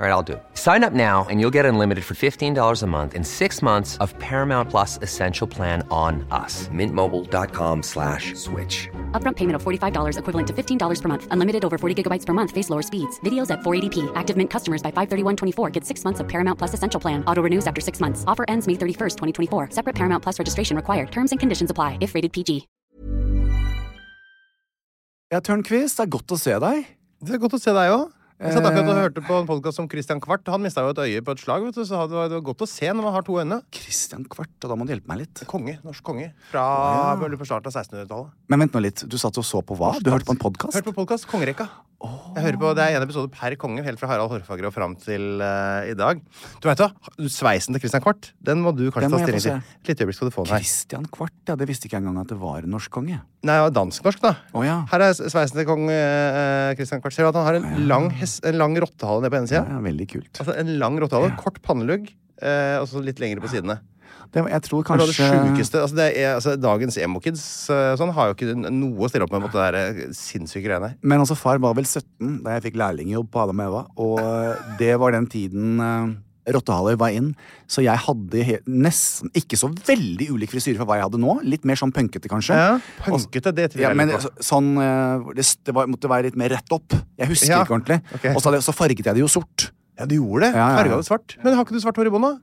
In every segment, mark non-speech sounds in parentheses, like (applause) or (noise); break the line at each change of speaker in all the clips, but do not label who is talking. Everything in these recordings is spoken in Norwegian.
All right, I'll do. it. Sign up now and you'll get unlimited for $15 a month in six months of Paramount Plus Essential Plan on us. Mintmobile.com slash switch.
Upfront payment of $45 equivalent to $15 per month. Unlimited over 40 gigabytes per month. Face lower speeds. Videos at 480p. Active Mint customers by 531.24 get six months of Paramount Plus Essential Plan. Auto renews after six months. Offer ends May 31st, 2024. Separate Paramount Plus registration required. Terms and conditions apply if rated PG.
Ja, Tørnquist, det er godt å se deg.
Det er godt å se deg òg. Jeg satt akkurat og
Eh.
hørte på en podkast om Christian Kvart. Han mista jo et øye på et slag. vet du, Så det var det var godt å se når man har to øyne.
Christian Kvart, og da må du hjelpe meg litt.
Konge. Norsk konge. Fra vel, på starten av 1600-tallet.
Men vent nå litt, du satt og så på hva? Du hørte på en
Hørt
podkast?
på podkast Kongerekka. Jeg hører på, Det er en episode per konge, helt fra Harald Hårfagre og fram til eh, i dag. Du vet hva, sveisen til Christian Kvart den må du kanskje
Den må
ta
jeg få
stilling til.
se.
Et lite øyeblikk skal du få den her.
Christian Kvart, ja, det visste ikke jeg engang at det var en norsk konge.
Nei, det var dansk-norsk, da.
Å, ja.
Her er sveisen til kong eh, Christian Kvart. Ser du at han har en lang, hes- en lang rottehale nede på ene
Ja,
sida?
ja, veldig kult.
Altså, en lang rottehale, kort pannelugg, eh, og så litt lengre på sidene.
Det, var- jeg tror
Det var det
kanskje
sjukeste. Altså, det er, altså, dagens emo-kids eh, sånn, har jo ikke noe å stille opp med mot det der eh, sinnssyke greiene. her.
Men altså, far var vel 17 da jeg fikk lærlingjobb på Adam og Eva, og eh, det var den tiden eh, rottehaler var inn. Så jeg hadde he- nesten ikke så veldig ulik frisyre fra hva jeg hadde nå. Litt mer sånn punkete, kanskje.
Ja, punkete, det tviler
Ja,
jeg
men
litt på.
så- sånn, eh, hvor det, s- det var, måtte være litt mer rett opp. Jeg husker
Ja,
ikke ordentlig.
ok.
Og så, hadde, jeg- så farget jeg det jo sort.
Ja, du gjorde det.
Ja, ja, ja.
Farga det svart. Men har ikke du svart hår i bånn, da?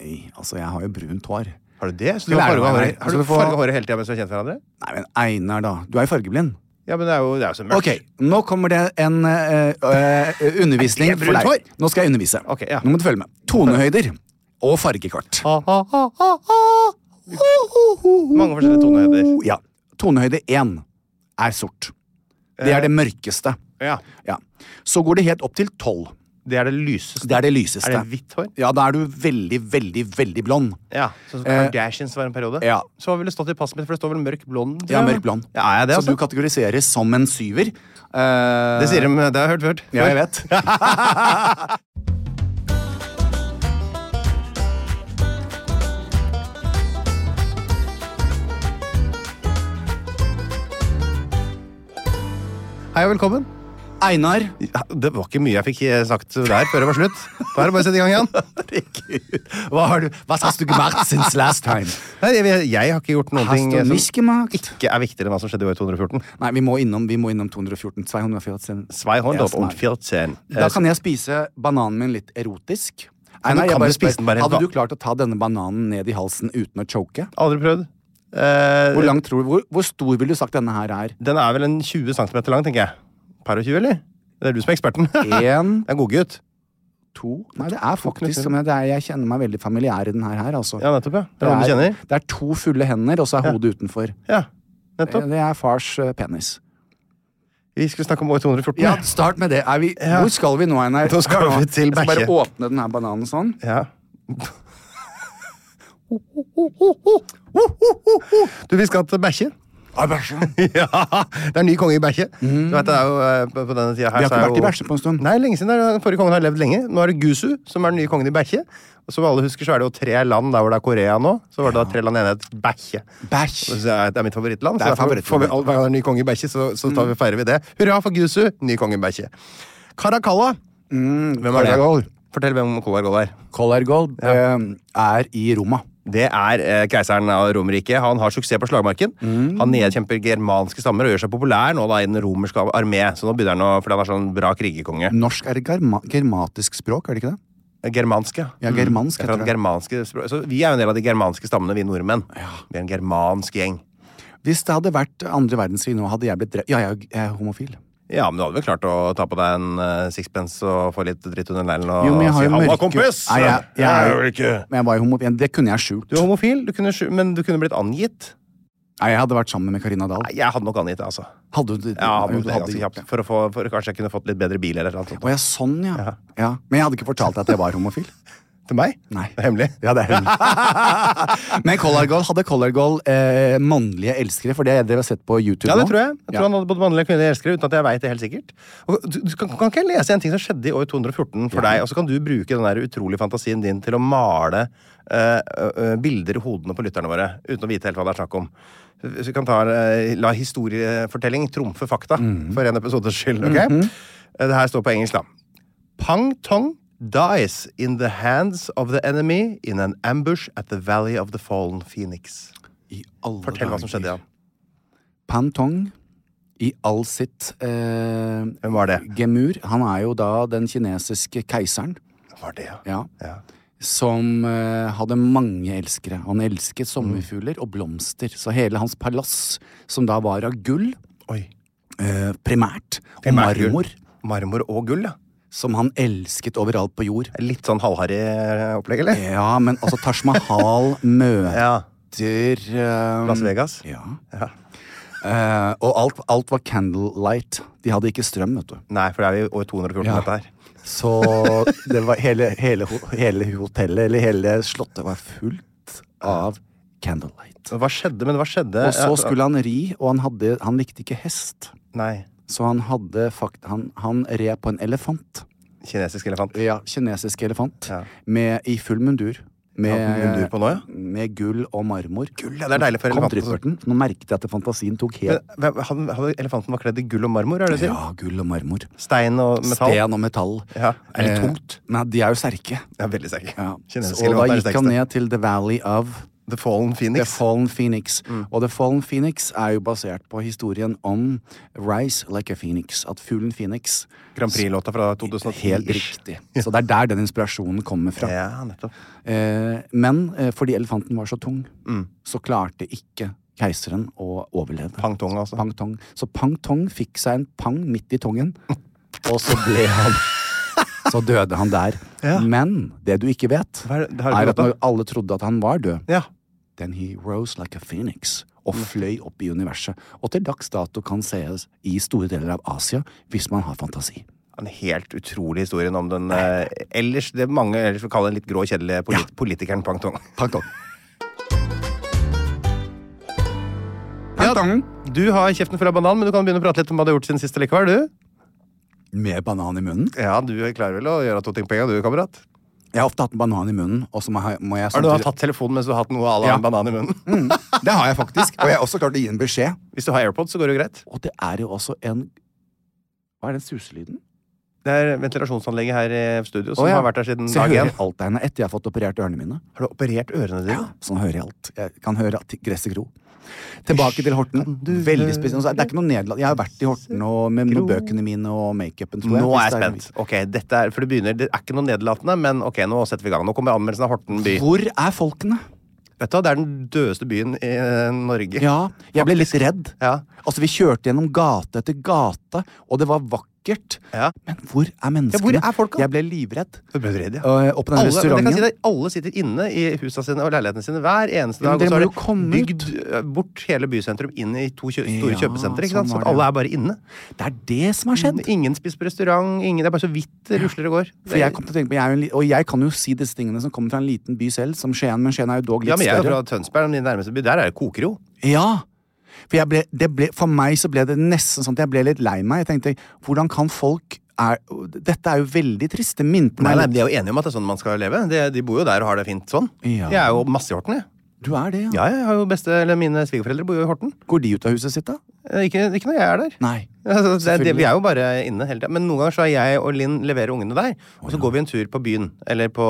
Nei, altså, jeg har jo brunt hår.
Har du det? Så
Skal
du har
jeg lære
farga
meg
håret,
det?
har
Skal
du
du få-
farget håret hele tida mens vi har kjent hverandre?
Nei, men Einar, da. Du er jo fargeblind.
Ja, men det er jo, det er jo så mørkt.
Ok, nå kommer det en eh, eh, undervisning
Er det
for
brunt
deg.
hår?
Nå skal jeg undervise.
Ok, ja.
Nå må du følge med. Tonehøyder og fargekart.
Ha, ha, ha, ha, ha. Mange forskjellige tonehøyder.
Ja. Tonehøyde én er sort. Det
Eh.
er det mørkeste.
Ja.
Ja. Så går det helt opp til tolv.
Det er det lyseste.
Det er det lyseste.
Er det hvitt hår?
Ja, da er du veldig, veldig, veldig blond.
Ja, Sånn som Kardashians var en periode.
Eh, ja.
Så hva ville det stått i passet mitt, for det står vel mørk blond? tror
Ja,
jeg.
mørk blond.
Ja, er jeg det,
så du
altså?
kategoriseres som en syver. Eh,
Det sier de, det har jeg hørt før.
Ja, jeg
(laughs)
vet.
Hei og velkommen.
Einar.
(laughs) Ja, Det var ikke mye jeg fikk eh, sagt der før det var slutt. Da er det bare å sette i gang
(laughs)
igjen.
Hva har du Hva har du gjort since last time?
(laughs) Nei, jeg, jeg har ikke gjort noen ting eh,
Hast du
som
nicht gemacht?
ikke er viktigere enn hva som skjedde i år 214.
Nei, vi må innom, vi må innom 214. 214.
Zweihundert
Ja,
und 14.
Da kan jeg spise bananen min litt erotisk.
Men Eh, nå
jeg
kan
bare
du spise
spør,
den bare rett, da.
Hadde du klart å ta denne bananen ned i halsen uten å choke?
Aldri prøvd. Eh,
Hvor, lang tror du, hvor, hvor stor ville du sagt denne her er?
Den er vel en 20 cm lang, tenker jeg. Par og 20, eller? Det er du som er eksperten.
(laughs)
det
En,
er en godgutt.
to Nei, det er faktisk som jeg, det er, jeg kjenner meg veldig familiær i den her, her altså.
Ja, nettopp, ja. Det er noen du kjenner.
det er to fulle hender, og så er hodet utenfor.
Ja,
Det
nettopp.
det er fars eh, penis.
Vi skulle snakke om år 214.
Ja, start med det. Er vi, Hvor skal vi nå, Einar?
Nå skal vi til
Jeg skal
Bekkje.
Bare åpne den her bananen sånn. (laughs)
Ja. Du, vi skal til Bækkje. (laughs) ja, det er ny konge i Bækkje. Du vet, det er jo, eh, på, på denne tida her,
Mm. Vi har
så
ikke
er
vært i
jo-
Bækkje på en stund.
Nei, lenge siden. er det- Den forrige kongen har levd lenge. Nå er det Gusu som er den nye kongen i Bækkje. Og som alle husker, så er det jo tre land der hvor det er Korea nå. Så var det da tre land i enighet. Bækkje. Og
Bæsj!
så er- Det er mitt favorittland.
Det er
så derfor
favorittland. Mm.
får vi, all- hver gang det er ny konge i Bækkje, så, så tar vi, feirer vi det. Hurra for Gusu, ny konge i Bækkje. Karakalla.
Mm.
hvem er
Collargol.
det? Fortell hvem Kolargol er.
Collargold Eh, er i Roma.
Det er eh, keiseren av Romerriket. Han har suksess på slagmarken.
Mm.
Han nedkjemper germanske stammer og gjør seg populær nå da i den romerske armé. Så nå begynner han å, fordi han er sånn bra krigerkonge. Eh,
Norsk er et germa germatisk språk, er det ikke det?
Germanske.
Ja, germansk
Mm. Jeg tror
heter
at
det.
germanske språk. Så vi er jo en del av de germanske stammene, vi nordmenn. Vi er en germansk gjeng.
Hvis det hadde vært andre verdenskrig nå, hadde jeg blitt drept Ja, jeg, jeg er homofil.
Ja, men du hadde vel klart å ta på deg en eh, sixpence og få litt dritt under neglen og
Jo, men jeg har
si
jo
'halla,
mørke-
kompis'?
Nei, jeg- jeg er jo-
vel ikke
Men jeg var jo homofil. Det kunne jeg skjult.
Du er homofil, du kunne, skju- men du kunne blitt angitt.
Nei, jeg hadde vært sammen med Karina Dahl.
Nei, jeg hadde nok angitt det, altså.
Hadde du
Ja, men
du
det er
hadde
ganske
gjort
kjapt. For å få, for kanskje jeg kunne fått litt bedre bil eller noe sånt.
Å ja, sånn, ja. Ja. Men jeg hadde ikke fortalt deg at jeg var homofil.
(laughs) Til meg?
Nei.
Det er hemmelig.
Ja, det er hun. Men Color Goal hadde Color Goal eh, mannlige elskere, for det er det vi har sett på YouTube
(laughs) Ja, det
nå.
tror jeg. Jeg tror
Ja.
han hadde både mannlige og kvinnelige elskere, uten at jeg vet det helt sikkert. Og du, du, kan, kan ikke jeg lese en ting som skjedde i år 214 for deg, og så kan du bruke den der utrolige fantasien din til å male eh, eh, bilder i hodene på lytterne våre, uten å vite helt hva det er snakk om. Så vi kan ta, eh, la historiefortelling trumfe fakta,
Mm.
for en episodes skyld, ok?
Mm-hmm.
Eh, Det her står på engelsk, da. Pang Tong dies in the hands of the enemy in an ambush at the valley of the fallen phoenix.
I alle
Fortell hva som skjedde, ja.
Pantong i all sitt eh,
Hvem var det?
gemur. Han er jo da den kinesiske keiseren,
Var det, ja.
ja,
ja.
som eh, hadde mange elskere. Han elsket sommerfugler og blomster. Så hele hans palass, som da var av gull,
Oi.
eh, primært, og
Primært gull.
marmor,
Marmor og gull, ja.
som han elsket overalt på jord.
Litt sånn halvharry opplegg, eller?
Ja, men altså Taj Mahal møter
Eh. (laughs) Ja.
eh,
Las Vegas.
Ja. Eh, og alt, alt var candlelight. De hadde ikke strøm, vet du.
Nei, for det er jo år 214,
Ja.
dette her.
Så det var hele, hele, ho- hele hotellet, eller hele slottet, var fullt av candlelight.
Og Hva skjedde, men hva skjedde?
Og så skulle han ri, og han, hadde, han likte ikke hest.
Nei.
Så han hadde fakt... Han, han red på en elefant.
Kinesisk elefant.
Ja, kinesisk elefant.
Ja.
Med, I full mundur. Med,
Hadde han mundur på nå, ja?
med gull og marmor.
Gull, ja, det er deilig for
Kom
elefanten.
driften. Nå merket jeg at fantasien tok helt
Men hvem- han- han- Elefanten var kledd i gull og marmor, er det det? sier?
Ja, gull og marmor.
Stein og metall?
Sten og metall.
Ja, er det
Eh,
tungt?
Nei, de er jo sterke.
Ja, veldig sterk.
Ja. Og
Kinesisk
da
elefant er det
gikk han
sterkeste.
ned til The Valley of
The Fallen
The
Phoenix. Mm.
Fallen Phoenix. Og The Fallen Phoenix er jo basert på historien om Rise Like a Phoenix. At fuglen Phoenix
Grand Prix-låta fra 2010.
Helt riktig. Så det er der den inspirasjonen kommer fra.
Ja, nettopp.
Eh, men eh, fordi elefanten var så tung,
Mm.
så klarte ikke keiseren å overleve.
Pang Tong, altså.
Pang Tong. Så Pang Tong fikk seg en pang midt i
(laughs)
tongen, og så ble han Så døde han der. Men det du ikke vet,
Hva er det- det har du ikke
er at
gått av?
når alle trodde at han var død,
Ja.
then he rose like a phoenix og fløy opp i universet. Og til dags dato kan sees i store deler av Asia hvis man har fantasi.
En helt utrolig historien om den eh, ellers, det mange ellers vil kalle den litt grå, kjedelige polit politikeren Pang Tong.
Pang Tong. Pang Tong.
Du har kjeften full av banan, men du kan begynne å prate litt om hva du har gjort siden sist likevel, du.
Med banan i munnen.
Ja, du klarer vel å gjøre to ting på en gang, du, kamerat.
Jeg har ofte hatt en banan i munnen, og så må jeg, må jeg
Har du
samtidig-
hatt tatt telefonen mens du har hatt noe à la
Ja.
en banan i munnen?
Mm, det har jeg (laughs) faktisk. Og jeg har også klart å gi en beskjed.
Hvis du har AirPods, så går det jo greit.
Og det er jo også en Hva er den suselyden?
Det er ventilasjonsanlegget her i studio som
Å, ja.
har vært der siden
Så
dag
jeg hører
én.
alt der inne etter jeg har fått operert ørene mine.
Har du operert ørene dine?
Sånn hører jeg alt. Jeg kan høre at gresset gro. Tilbake til Horten.
du
Veldig
høre
spesielt. Altså, Det er ikke noe nederland. Jeg har vært i Horten og med
gro?
bøkene mine og makeupen. tror
Nå
hvis
er jeg
det
spent. Ok, dette er, for Det begynner, det er ikke noe nedlatende, men ok, nå setter vi i gang. Nå kommer anmeldelsen av Horten by.
Hvor er folkene?
Vet du, hva, Det er den dødeste byen i eh, Norge.
Ja, jeg ble litt redd.
Ja.
Altså, vi kjørte gjennom gate etter gate, og det var vakkert.
Ja.
Men hvor er menneskene?
hvor er folka?
Jeg ble livredd.
Du ble redd, ja.
Og, og på den
Alle, men jeg
restauranten
kan si deg, alle sitter inne i husene sine og leilighetene sine hver eneste
Ja, men
dag.
dere
Og så
må
er
jo komme
det bygd eh, bort hele bysentrum inn i to kjø store
Ja,
kjøpesentre. Ikke sant?
sånn
Så
var det, ja.
at alle er bare inne.
Det er det som har skjedd.
Ingen spiser på restaurant. Ingen, det er bare så vidt det rusler og går.
For jeg kom til å tenke på, jeg er jo en, li- Og jeg kan jo si disse tingene som kommer fra en liten by selv, som Skien, men Skien er jo dog litt
ja, men jeg er jo
større.
fra Tønsberg, min nærmeste by. Der er det koker jo.
Ja, for, jeg ble, det ble, for meg så ble det nesten sånn at jeg ble litt lei meg. Jeg tenkte, hvordan kan folk er, Dette er jo veldig trist. Det minte
Nei,
meg
nei,
litt
De er jo enige om at det er sånn man skal leve. De, de bor jo der og har det fint sånn.
Ja.
Jeg er jo masse i Horten, jeg.
Du er det, ja.
Ja, jeg har jo beste, eller Mine svigerforeldre bor jo i Horten.
Går de ut av huset sitt, da?
Eh, Ikke, ikke når jeg er der.
Nei.
Altså, det, er- det, vi er jo bare inne hele tida. Men noen ganger så er jeg og Linn leverer ungene der, og så går vi en tur på byen eller på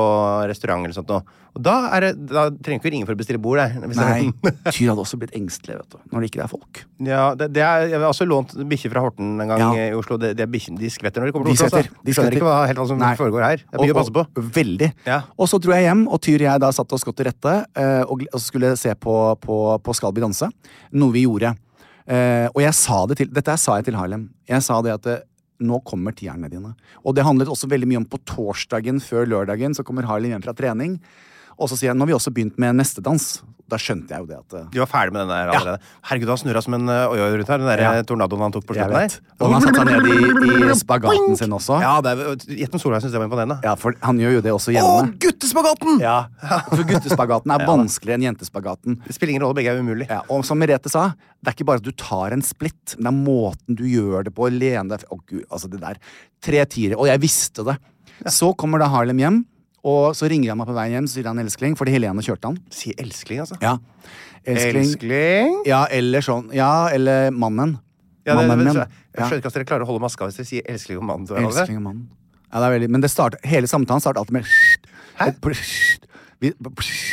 restaurant eller sånt noe. Og da, er det, da trenger vi ikke ringe for å bestille bord, der. hvis det er-
Nei,
(laughs)
Tyr hadde også blitt engstelig vet du, når det ikke er folk.
Ja, det, det er, jeg har også lånt bikkje fra Horten en gang
Ja.
i Oslo. Det, det er bikkjen- de skvetter når de kommer
De
til Oslo.
skvetter.
altså.
De
Skjønner
skvetter.
ikke hva, helt hva som
Nei.
foregår her. Det er mye å passe på.
Og, veldig.
Ja.
Og så dro jeg hjem, og Tyr og jeg da satt oss godt til rette eh, og, gl- og skulle se på, på, på Skal vi danse, noe vi gjorde. Eh, og jeg sa det til Dette her sa jeg til Harlem. Jeg sa det at eh, nå kommer tierne dine. Og det handlet også veldig mye om på torsdagen før lørdagen, så kommer Harlem hjem fra trening. Og så sier jeg nå har vi også begynt med neste dans. Da skjønte jeg jo det at eh,
Du var ferdig med den der allerede. Herregud, han snurra som en eh, ø, oi-oi rundt her. Den der
Ja.
ø, tornadoen han tok på
Jeg
slutten
vet.
der.
Og han satte seg ned i, i spagaten sin også.
(laughs) Ja, det er- Jetten Solheim syns det var imponerende.
Ja, for han gjør jo det også
Å,
gjennom det.
guttespagaten!
Ja. For guttespagaten er vanskeligere enn jentespagaten.
(laughs) Det spiller ingen rolle, begge er umulig.
Ja, og som Merete sa, det er ikke bare at du tar en splitt, men det er måten du gjør det på. Lene deg Å, gud, altså det der. Tre tiere. Og jeg visste det. Så kommer da Harlem hjem, og så ringer han meg på veien hjem, så sier han elskling, fordi Helene kjørte han.
Si elskling, altså.
Ja. Elskling.
Elskling.
Ja, eller sånn. Ja, eller mannen.
Ja, det,
mannen
men,
min.
så- jeg skjønner ikke at dere klarer å holde maska hvis dere sier elskling om mannen. til
Ja,
hverandre.
elskling og mannen. Ja, det er veldig, men det starter, hele samtalen starter alltid med Hæ? Vi,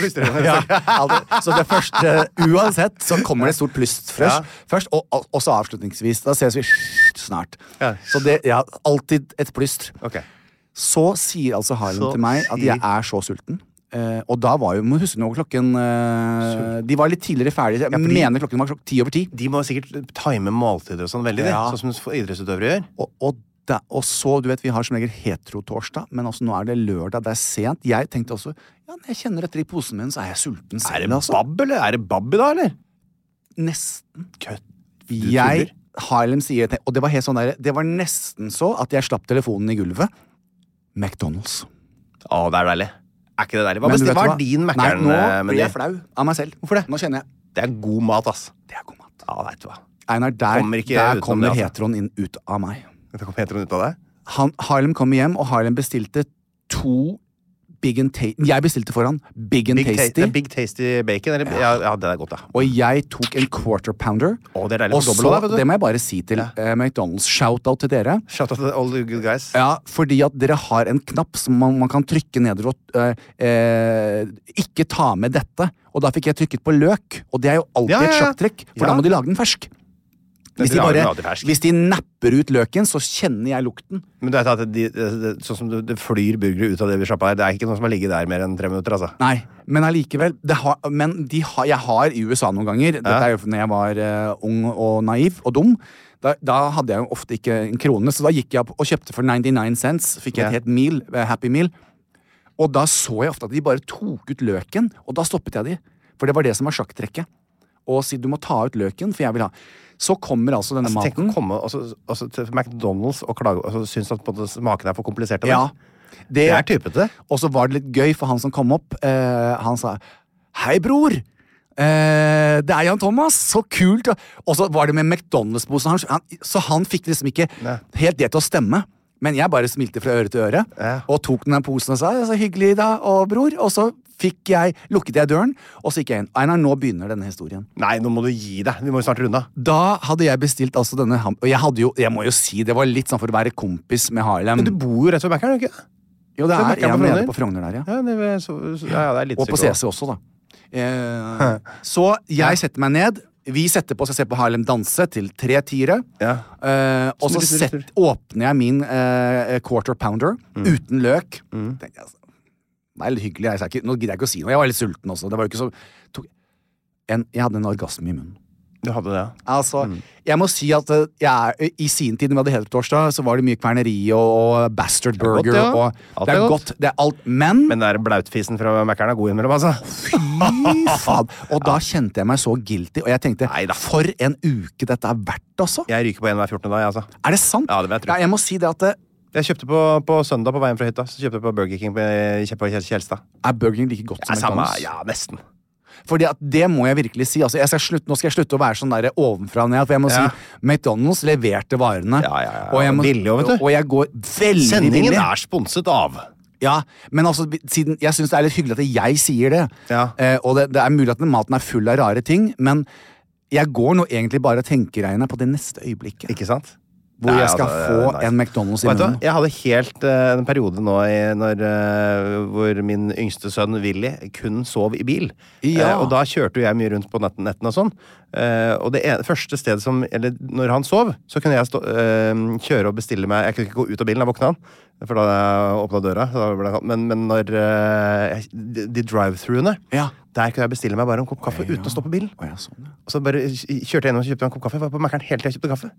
Plystrer.
(laughs) ja, alltid. så det første Uansett så kommer det et stort plystfrøs
Ja.
først, og, og også avslutningsvis. Da ses vi snart.
Ja.
Så det ja, alltid et plyst.
Ok.
Så sier altså Harlem
Så
til meg at jeg er så sulten. Eh, og da var jo Må huske nå klokken eh, De var litt tidligere ferdige. Jeg
fordi-
mener klokken var klok- ti over ti.
De må sikkert time måltider og sånn veldig, de.
Ja.
sånn som idrettsutøvere gjør.
Og, og, da, og så, du vet, Vi har som regel heterotorsdag, men også nå er det lørdag. Det er sent. Jeg tenkte også ja, når jeg kjenner etter i posen min, så er jeg sulten
Er
selv.
det
Altså.
babb, eller? Er det babbi, da, eller?
Nesten.
Kødd.
Jeg, Harlem sier til- Og det var helt sånn der, det var nesten så at jeg slapp telefonen i gulvet. McDonald's.
Å, det er deilig. Er ikke det deilig? Hva
Men du
bestil-
vet
hva
hva?
er din
Nei, Nå blir jeg
Mækkern-meny?
flau av meg selv.
Hvorfor det?
Nå kjenner jeg
Det er god mat, ass.
Det er god mat.
Ja, veit du hva.
Einar, der
Kommer
kommer,
ikke
der
utenom
kommer
det, altså.
heteroen inn ut av meg.
Dette kom Petron ut av deg.
han, Harlem kommer hjem, og Harlem bestilte to Big and Tasty Jeg bestilte for han Big and
Big, ta
Tasty.
det er big tasty bacon, eller? Ja, ja det er godt, da.
og jeg tok en quarter pounder.
Å, det er deilig
og
for
så,
dobbelt også, da, vet du.
det må jeg bare si til eh, McDonald's, shout-out til dere.
Shout out to all the good guys.
Ja, fordi at dere har en knapp som man, man kan trykke nedover og eh, eh, Ikke ta med dette. Og da fikk jeg trykket på løk, og det er jo alltid
Ja, ja,
et
ja.
sjakktrekk, for
Ja.
da må de lage den fersk. Hvis de,
lager den
bare,
alltid fersk.
hvis de napper ut løken, så kjenner jeg lukten.
Men du vet at de, det, det, sånn som det, det flyr burgere ut av det sjappa her, det er ikke noe som har ligget der mer enn tre minutter, altså.
Nei, men allikevel. Det har, men de har, jeg har i USA noen ganger Dette er jo når jeg var eh, ung og naiv og dum. Da, da hadde jeg jo ofte ikke en krone, så da gikk jeg opp og kjøpte for 99 cents. Fikk jeg
Ja.
et helt meal, eh, happy meal. Og da så jeg ofte at de bare tok ut løken, og da stoppet jeg de. For det var det som var sjakktrekket. Og si du må ta ut løken, for jeg vil ha Så kommer altså denne
Altså, tenk å
maten.
komme altså, altså, til McDonald's og klage altså, Syns at på en måte smakene er for kompliserte. men-
Ja, det,
Det er typete.
Og så var det litt gøy, for han som kom opp, eh, han sa Hei, bror! Eh, det er Jan Thomas! Så kult! Og så var det med McDonald's-posen hans, han, så han fikk liksom ikke
Nei.
helt det til å stemme. Men jeg bare smilte fra øre til øre
Ja.
og tok den der posen og sa «Ja, 'så hyggelig, da, og bror'. Og så fikk jeg, lukket jeg døren, og så gikk jeg inn. Einar, nå begynner denne historien.
Nei, nå må du gi deg. Vi må jo snart runde av.
Da hadde jeg bestilt altså denne ham... Og jeg hadde jo, jeg må jo si, det var litt sånn for å være kompis med Harlem.
Men du bor jo rett ved Mækkern, gjør du ikke?
jo, det
det
er,
er Mac'en på
jeg er nede
Frogner.
på Frogner der, ja.
Ja, det er, så, så, ja, ja, det er litt
Og på
psyko.
CC også, da. Eh, så jeg setter meg ned. Vi setter på så jeg ser på Harlem danse til tre tiere.
Ja.
Eh, og så
Snurre, snurre,
sett, åpner jeg min eh, quarter pounder
Mm.
uten løk. Tenkte jeg, altså, det er litt hyggelig. Jeg, sa ikke, nå gidder jeg ikke å si noe. Jeg var litt sulten også. Det var jo ikke så, tok, en, jeg hadde en orgasme i munnen.
Du hadde det, ja.
Altså,
Mm.
Jeg må si at eh, jeg, er- I sin tid, når vi hadde Heltorsdag, så var det mye kverneri og, og bastard
er godt,
burger.
ja.
og,
Alt
det
er
er
godt.
godt. Det er alt. Men
Men den der blautfisen fra Mækkern er god innimellom, altså.
Fy faen! Og da kjente jeg meg så guilty, og jeg tenkte
Neida.
for en uke dette er verdt, altså!
Jeg ryker på en hver 14. dag, jeg, altså.
Er det sant?
Ja, det vil jeg tro.
Nei, jeg må si det at eh,
Jeg kjøpte på, på søndag på veien fra hytta. Så kjøpte jeg på Burger King på, på Kjel- Kjelstad.
er Burger King like godt
Det
som
er samme,
McDonald's?
ja, nesten.
Fordi at det må jeg virkelig si. Altså, jeg skal slutte, nå skal jeg slutte å være sånn der ovenfra og ned. For jeg må
Ja.
si McDonald's leverte varene.
Ja, ja, ja.
Og jeg må,
Billig også, vet du.
Og jeg går veldig
Sendingen
billig.
er sponset av.
Ja, men altså, siden jeg syns det er litt hyggelig at jeg sier det.
Ja.
Eh, og det, det er mulig at den maten er full av rare ting, men jeg går nå egentlig bare og tenker Einar, på det neste øyeblikket.
Ikke sant?
hvor
Nei,
jeg skal
altså,
få
nice.
en McDonald's i
Vet du hva?
munnen.
Jeg hadde helt eh, en periode nå i, når, eh, hvor min yngste sønn Willy kun sov i bil.
Ja.
Eh, og da kjørte jo jeg mye rundt på nett- nettene og sånn. Eh, og det ene- første stedet som Eller når han sov, så kunne jeg stå, eh, kjøre og bestille meg Jeg kunne ikke gå ut av bilen, da våkna han. For da hadde jeg åpna døra. så Da ble han, men, men når eh, jeg- De, de drive-thruene
Ja.
Der kunne jeg bestille meg bare en kopp kaffe uten å stoppe bilen.
Å, ja, sånn, ja.
Og så bare kjørte jeg gjennom og kjøpte meg en kopp kaffe. Var på Mækkern hele tida og kjøpte kaffe.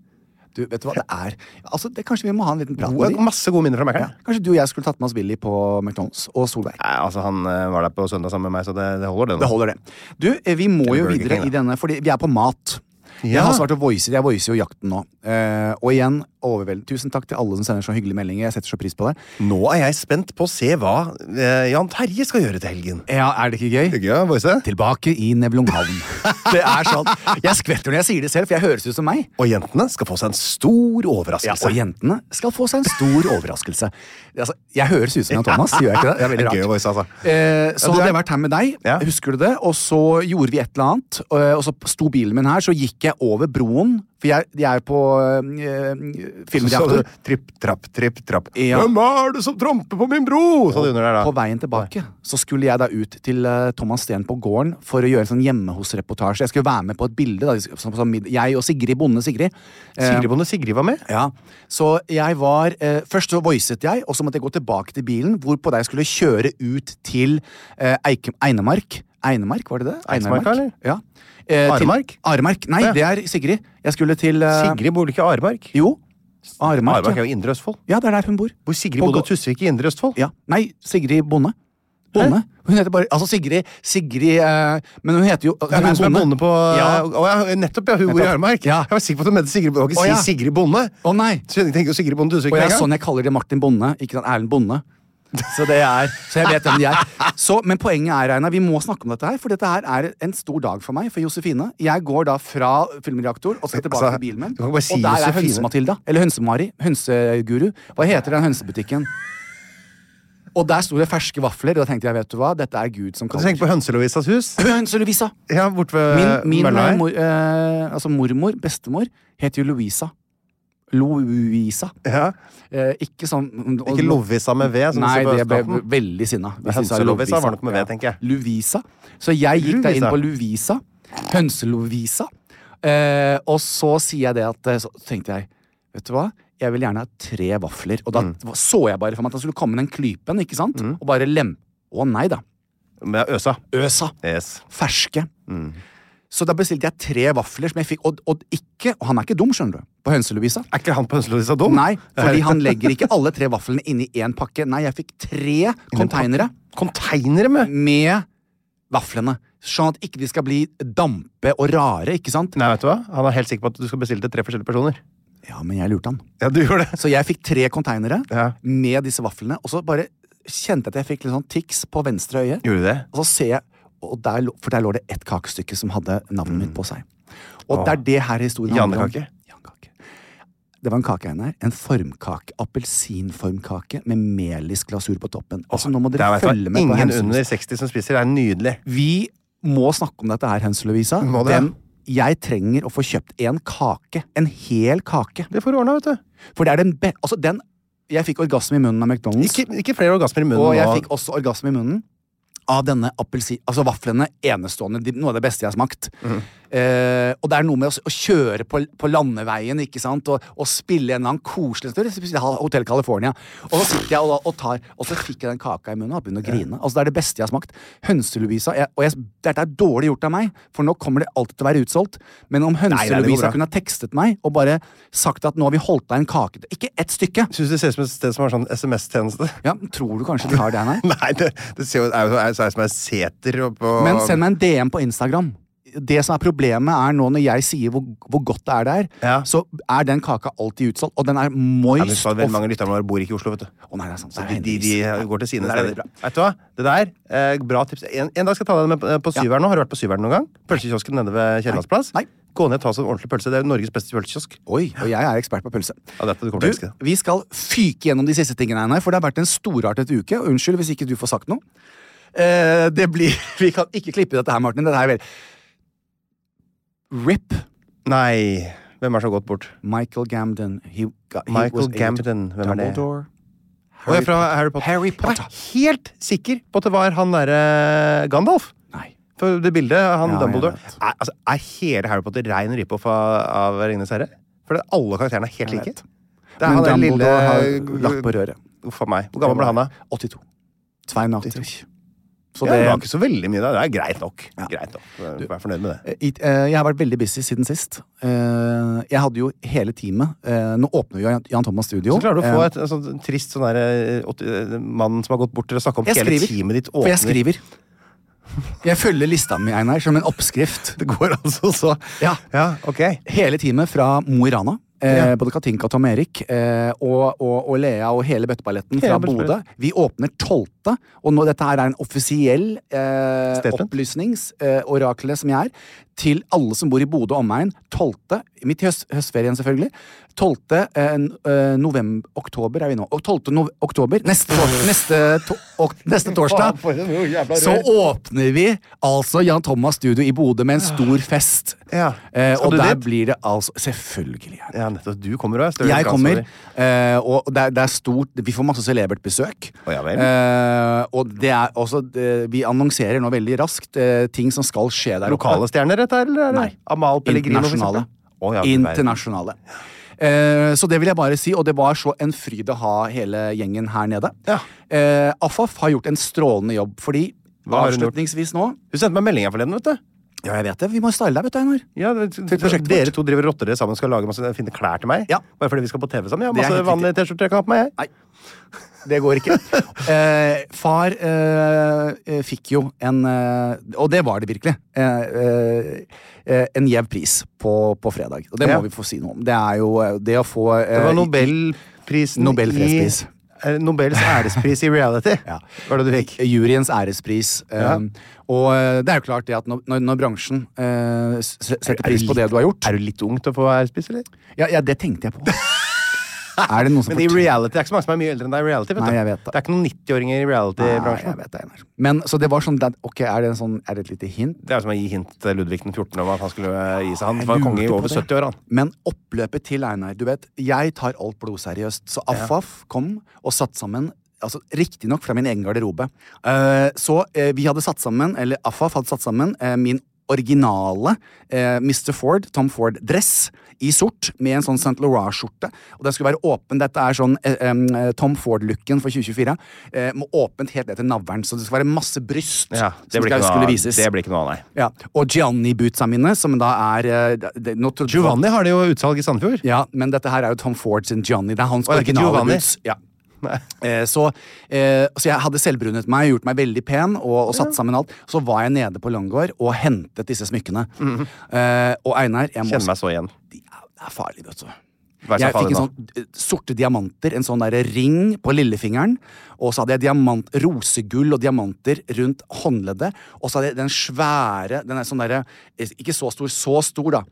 Du, vet du hva det er? Altså, det, kanskje vi må ha en liten prat med
Gode,
dem.
masse gode minner fra Mækkern.
Ja. Kanskje du og jeg skulle tatt med oss Willy på McDonald's og Solveig.
Nei, altså Han eh, var der på søndag sammen med meg, så det, det holder, det. nå.
Det holder, det. Du, eh, vi må jo
Burger
videre
King,
i
da.
denne, fordi vi er på mat. Jeg
Ja.
har svart å voice, jeg voicer jo jakten nå. Eh, og igjen, overveld... Tusen takk til alle som sender så hyggelige meldinger. Jeg setter så pris på det.
Nå er jeg spent på å se hva eh, Jan Terje skal gjøre til helgen.
Ja, Er det ikke gøy?
Gøy, Boise.
Tilbake i Nevlunghavn. (laughs) det er sånn. Jeg skvetter når jeg sier det selv, for jeg høres ut som meg.
Og jentene skal få seg en stor overraskelse.
Altså, og jentene skal få seg en stor overraskelse. Altså, jeg høres ut som Jan Thomas, gjør jeg ikke det?
(laughs)
Det er veldig
Det er gøy
rart.
voice, altså.
Eh, så hadde
Ja, du er-
jeg vært her med deg,
Ja.
husker du det? Og så gjorde vi et eller annet, eh, og så sto bilen min her, så gikk jeg over broen, for jeg, jeg er på eh,
Så sa
filmreaktor,
du, Tripp, trapp, tripp, trapp.
Ja.
Hvem er det som tramper på min bro? sa de under der, da.
på veien tilbake. Så skulle jeg da ut til eh, Thomas Steen på gården for å gjøre en sånn hjemme hos-reportasje. Jeg skulle være med på et bilde, da, som, som, jeg og Sigrid, bonde Sigrid. Eh,
Sigrid Bonde Sigrid var med.
Ja, så jeg var eh, Først så voicet jeg, og så måtte jeg gå tilbake til bilen, hvorpå jeg skulle kjøre ut til eh, Eike, Einemark. Einemark, var det det?
Eidsmarka, eller?
Ja. Eh, til-
Aremark?
Aremark. Nei,
Ja.
det er Sigrid. Jeg skulle til eh,
Sigrid bor ikke i Aremark.
Jo. Aremark.
Aremark er
ja.
jo Indre Østfold.
ja, det er der hun bor.
Hvor Sigrid
På
bodde
gå-
Tusvik i Indre Østfold.
Ja. Nei, Sigrid Bonde. Bonde. Hun heter bare Altså Sigrid Sigrid eh, Men hun heter jo
Det er hun som er bonde på eh,
Ja.
Å, ja, Nettopp, ja. Hun bor i
Nettopp.
Aremark.
Ja.
Jeg var sikker på at du mente Sigrid Bonde. Du kan
Å,
ikke
ja.
si Sigrid Bonde.
Å nei!
Så jeg tenker jo Sigrid Bonde Tusvik
Og
med
jeg
en
er
gang.
sånn jeg kaller det Martin Bonde, ikke sant, Erlend Bonde. Så det er, så jeg vet hvem de er. Så, men poenget er, Einar, vi må snakke om dette her, for dette her er en stor dag for meg, for Josefine. Jeg går da fra filmreaktor og skal tilbake
Altså,
til bilen min.
du kan ikke bare si
og der er
Josefine.
Hønse-Matilda. Eller Hønse-Mari. Hønseguru. Hva heter den hønsebutikken? Og der sto det ferske vafler, og da tenkte jeg, vet du hva, dette er Gud som
Du tenker
kaller.
på Hønselovisas hus?
Hønse-Lovisa!
Ja, bort ved
Min, min eh,
Eh, mølla her.
mor, eh, altså mormor, bestemor, heter jo Louisa. Louisa.
Ja.
Eh, ikke sånn og-
Ikke Lovisa med V, som
Nei,
det
det
står på
ble
østkanten.
veldig sinna. hvis
Men
jeg sa
Hønselovisa
Lovisa.
var nok med V,
Ja.
tenker jeg.
Luvisa. Så jeg gikk da inn
Luvisa.
på Luvisa. Hønselovisa. Eh, og så sier jeg det at eh, Så tenkte jeg, vet du hva? Jeg vil gjerne ha tre vafler. Og da
Mm.
så jeg bare for meg at han skulle komme med den klypen, ikke sant? Og bare lem... Å nei da.
Med Øsa.
Øsa
Yes.
ferske.
Mm.
Så da bestilte jeg tre vafler som jeg fikk, og, og ikke Og han er ikke dum, skjønner du, på Hønselovisa.
Er ikke han på Hønselovisa dum?
Nei, fordi
(laughs)
han legger ikke alle tre vaflene inni én pakke. Nei, jeg fikk tre konteinere
Konteinere med
med vaflene. Sånn at ikke de skal bli dampe og rare, ikke sant?
Nei, vet du hva? Han er helt sikker på at du skal bestille til tre forskjellige personer.
Ja, men jeg lurte han.
Ja, du gjorde det.
Så jeg fikk tre konteinere
Ja.
med disse vaflene, og så bare kjente jeg at jeg fikk litt sånn tics på venstre øye.
Gjorde du det?
Og så ser jeg og der, lå- For der lå det ett kakestykke som hadde navnet mitt på seg. Og det er det her historien handler om.
Janekake?
Janekake. Det var en kake her, en formkake. Appelsinformkake med melis glasur på toppen. Altså, nå må
Det
dere
er, vet du hva,
følge med. på
Ingen
Hønselovisa.
under 60 som spiser, det er nydelig.
Vi må snakke om dette her, Hønse Lovisa.
Må det.
Den- Jeg trenger å få kjøpt en kake. En hel kake.
Det får du ordna, vet du.
For det er den be... Altså, den Jeg fikk orgasme i munnen av McDonald's.
Ikke, ikke flere orgasmer i munnen
Og jeg
nå.
fikk også orgasme i munnen av denne appelsin... Altså vaflene. Enestående. de- Noe av det beste jeg har smakt.
Mhm.
Eh, og det er noe med å, s- å kjøre på, på landeveien ikke sant? Og, og spille en eller annen koselig stund. Jeg spiller Hotel California. Og så sitter jeg og, og tar Og så fikk jeg den kaka i munnen og begynte å grine. Altså Det er det beste jeg har smakt. Hønse-Lovisa jeg- Og jeg, dette er dårlig gjort av meg, for nå kommer det alltid til å være utsolgt. Men om
nei, det går
Hønse-Lovisa
bra.
kunne ha tekstet meg og bare sagt at nå har vi holdt deg en kake Ikke ett stykke!
Syns det ser ut som et sted som har sånn SMS-tjeneste.
Ja, Tror du kanskje de har det, nei?
(laughs) Nei, det, det ser jo, er jo er, er som en seter og på
Men send meg en DM på Instagram. Det som er Problemet er nå når jeg sier hvor, hvor godt det er der,
Ja.
så er den kaka alltid utsolgt, og den er moist.
Ja, men så er det veldig
og-
mange lytterne våre bor ikke i Oslo, vet du.
Å nei, det er sant.
Så
Det er
de, de, de
heldigvis.
går til sine
Det er veldig
steder. Vet du hva? Det der, eh, bra tips. En, en dag skal jeg ta deg med på, eh, på Syveren. nå. Har du vært på Syveren noen gang? Pølsekiosken nede ved Kiellandsplass?
Nei.
Gå ned og ta oss en ordentlig pølse. Det er jo Norges beste pølsekiosk.
Oi, og jeg er ekspert på pølse.
Ja, dette du
Du,
kommer til å elske.
vi skal fyke gjennom de siste tingene, Einar, for det har vært en storartet uke. og Unnskyld hvis ikke du får sagt noe. Eh, det blir, (laughs) Vi kan ikke klippe dette her, Martin. Dette er vel Rip
Nei. Hvem er det som har gått bort?
Michael Gamden. He, got, he
Michael
was able to-
Gamden, hvem er det?
Dumbledore.
Å, jeg er fra Harry Potter.
Harry
Jeg
Potter.
var helt sikker på at det var han derre eh, Gandalf.
Nei.
For det bildet, eh, han
Ja, jeg
Dumbledore
vet.
er, altså, er hele Harry Potter rein rip-off av, av Ringenes herre? For det, alle karakterene er helt
Jeg
like.
vet.
Det er
Men
han der
Dumbledore har
lille
lagt på røret.
Uff a meg. Hvor gammel ble han da?
82. 82. Så
ja, det var
det
ikke så veldig mye da. Det er greit nok.
Ja.
Greit nok. Du er fornøyd med det.
It, eh, jeg har vært veldig busy siden sist. Eh, jeg hadde jo hele teamet. eh, nå åpner vi Jan, Jan Thomas Studio.
Så klarer du å få
Eh,
et en sånn trist sånn derre åtti- mann som har gått bort til å snakke om
jeg
hele
skriver,
teamet ditt
for
åpner.
jeg skriver. Jeg følger lista mi, Einar, som en oppskrift.
Det går altså så
Ja.
ja ok.
Hele teamet fra Mo i Rana. Eh, både Katinka og Tom Erik eh, og, og, og Lea og hele bøtteballetten fra
Hele
Bodø.
bøtteballetten.
Vi åpner 12. Og nå, dette her er en offisiell eh,
Statement.
opplysningsoraklet eh, oraklet som jeg er, til alle som bor i Bodø og omegn. 12. Midt i høst, høstferien, selvfølgelig. 12. Eh, n- eh, november Oktober er vi nå. Og 12. Nov oktober neste, tor- neste, to ok
(laughs)
neste torsdag
for en jævla
så
rør.
åpner vi altså Jan Thomas Studio i Bodø med en stor fest.
Ja.
Eh,
Skal
og
du
der
dit?
blir det altså Selvfølgelig. er det.
Ja, nettopp. Du kommer òg.
Jeg kommer, eh, og det er, det er stort Vi får masse celebert besøk.
Å, ja vel.
Eh, og det er også det, Vi annonserer nå veldig raskt eh, ting som skal skje der
Lokale stjerner, dette her? Eller? er det-
Nei.
Amal Pellegrino, for
Internasjonale.
eksempel? Å, ja, du verden.
Internasjonale. Eh, så det vil jeg bare si, og det var så en fryd å ha hele gjengen her nede.
Ja.
Eh, Afaf har gjort en strålende jobb, fordi
Hva har hun gjort?
avslutningsvis nå
Hun sendte meg melding her forleden, vet du.
Ja, jeg vet det. Vi må style deg, vet du, Einar.
Ja, det-
prosjektet
dere
vårt.
to driver og rotter dere sammen og skal lage masse fine klær til meg?
Ja.
Bare fordi vi skal på TV sammen? Ja,
Det er
masse
helt
vanlige T-skjorter jeg kan ha på meg? jeg.
Nei. Det går ikke. (laughs) Eh, far eh, eh, fikk jo en eh, Og det var det virkelig. Eh, eh, eh, en gjev pris på, på fredag. Og det
Ja.
må vi få si noe om. Det er jo eh, det å få eh,
Det var Nobelprisen
Nobel fredspris.
i Eh, Nobels ærespris i reality.
(laughs) Ja.
Var det du fikk?
Juryens ærespris. Eh,
Ja.
Og eh, det er jo klart det at når, når- når bransjen eh, s- setter pris på det du har gjort
Er du litt ung til å få ærespris, eller?
Ja, ja det tenkte
(laughs)
jeg på. er det noen som
Men i
fortjener-
reality, det er ikke så mange som er mye eldre enn deg i reality. Vet
Nei,
du.
jeg vet det.
det er ikke noen 90-åringer i
Nei,
reality-bransjen.
jeg vet det, Einar. Men så det var sånn det- Ok, er det, en sånn, er det et lite hint?
Det er jo som å gi hint til Ludvig den 14 om at han skulle eh, gi seg. Han
Jeg
var
lurte
konge i
på
over
det.
70 år, han.
Men oppløpet til Einar Du vet, jeg tar alt blodseriøst. Så Afaf kom og satt sammen Altså, Riktignok fra min egen garderobe. Eh, så eh, vi hadde satt sammen, eller Afaf hadde satt sammen, eh, min originale eh, Mr. Ford, Tom Ford-dress i sort med en sånn St. Laurent-skjorte. Og den skulle være åpen. Dette er sånn eh, em, eh, Tom Ford-looken for 2024. Eh, med åpent helt ned til navlen. Så det skal være masse bryst
Ja, det
som
blir
skal,
ikke noe
skulle
av-
vises.
det blir ikke noe av, nei.
Ja. Og Gianni-bootsa mine, som da er eh, det, nå trodde-
Giovanni har det jo utsalg i Sandfjord.
ja, men dette her er jo Tom Ford sin Johnny. Det er hans
Å, det er ikke
originale
Giovanni?
boots. Ja. Eh, så, eh, så jeg hadde selvbrunet meg, gjort meg veldig pen og, og satt sammen alt. Så var jeg nede på Langgaard og hentet disse smykkene. eh, og Einar, jeg må
Mhm. Kjenner meg så igjen.
Det er farlig, vet du.
Vær så
Jeg fikk
farlig
en
nå.
sånn eh, sorte diamanter, en sånn derre ring på lillefingeren. Og så hadde jeg diamant, rosegull og diamanter rundt håndleddet. Og så hadde jeg den svære, den er sånn derre eh, Ikke så stor, så stor, da.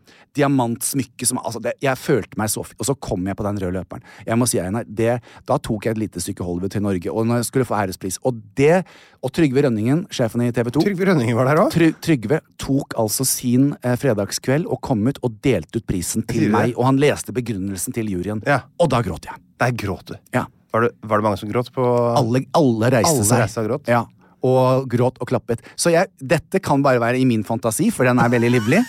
Diamantsmykke som Altså, det, jeg følte meg så fi- Og så kom jeg på den røde løperen. Jeg må si, Einar, det Da tok jeg et lite stykke Hollywood til Norge, og når jeg skulle få ærespris. Og det Og Trygve Rønningen, sjefen i TV 2
Trygve Rønningen var der òg.
Try Trygve tok altså sin eh, fredagskveld og kom ut og delte ut prisen til
Sier du
meg.
det?
Og han leste begrunnelsen til juryen.
Ja.
Og da gråt jeg.
Der gråt du.
Ja.
Var det, var det mange som gråt på
Alle, alle reiste
Alle
seg.
reiste og gråt?
Ja. Og gråt og klappet. Så jeg, dette kan bare være i min fantasi, for den er veldig
(laughs)
livlig.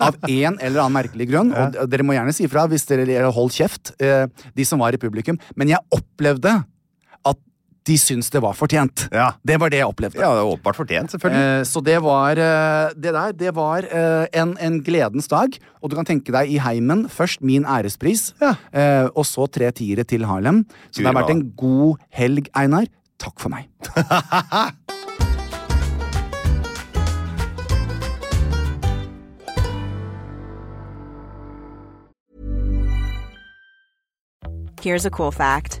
Av en eller annen merkelig grunn. Og d- dere må gjerne si ifra hvis dere eller hold kjeft, eh, de som var i publikum. Men jeg opplevde at de syntes det var fortjent.
Ja.
Det var det jeg opplevde.
Ja, det er åpenbart fortjent, selvfølgelig.
Eh, Så det var eh, Det der, det var eh, en, en gledens dag. Og du kan tenke deg i heimen først min ærespris,
Ja.
eh, og så tre tiere til Harlem. Så det har vært en god helg, Einar. Takk for meg.
Here's a cool fact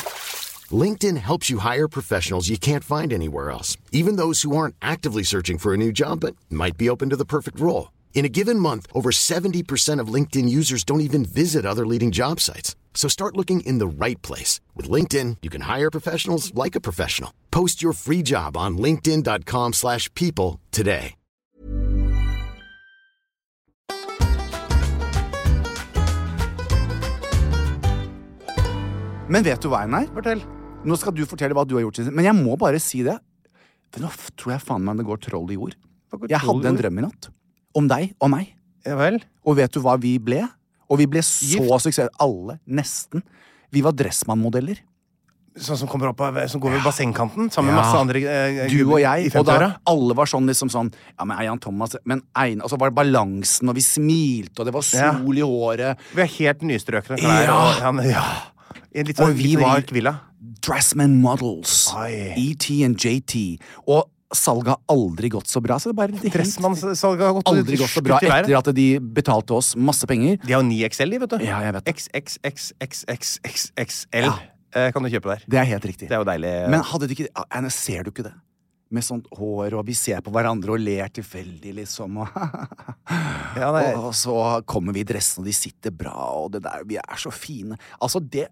LinkedIn helps you hire professionals you can't find anywhere else, even those who aren't actively searching for a new job but might be open to the perfect role. In a given month, over 70% of LinkedIn users don't even visit other leading job sites. So start looking in the right place. With LinkedIn, you can hire professionals like a professional. Post your free job on linkedin.com/people slash people today.
Men vet du hva, Einar? Fortell. Nå skal du fortelle hva du har gjort. siden- Men jeg må bare si det. For nå f- tror jeg faen meg det går troll i ord.
går
Jeg
troll i
hadde en
ord?
drøm i natt. Om deg og meg.
Ja vel?
Og vet du hva vi ble? Og vi ble så suksess... Alle. Nesten. Vi var Dressmann-modeller.
Sånn som kommer opp av, som går ved bassengkanten sammen med masse andre eh,
Du
gubber
og
i
jeg. Og da
femtiåra.
alle var sånn liksom sånn Ja, men Eian Thomas Men Einar Og så var det balansen, og vi smilte, og det var
Ja.
sol i håret.
Vi er helt nystrøkne klær.
Ja.
Og, han- ja. I en litt sånn,
Og vi
litt
var-
rik villa.
Dressman Models. E
Oi.
ET og JT. Og salget har aldri gått så bra, så det er bare det
Dressmannssalget har gått
aldri gått så bra
skutt i været.
etter at de betalte oss masse penger.
De har jo ni XL, de, vet du.
Ja, jeg vet det.
XXXXXXXL eh, kan du kjøpe der.
Det er helt riktig.
Det er jo deilig.
Men hadde du ikke det? Anne, ser du ikke det? Med sånt hår, og vi ser på hverandre og ler tilfeldig, liksom. Og, (laughs)
Ja, det er-
og, og så kommer vi i dressen, og de sitter bra, og det der, vi er så fine. Altså, det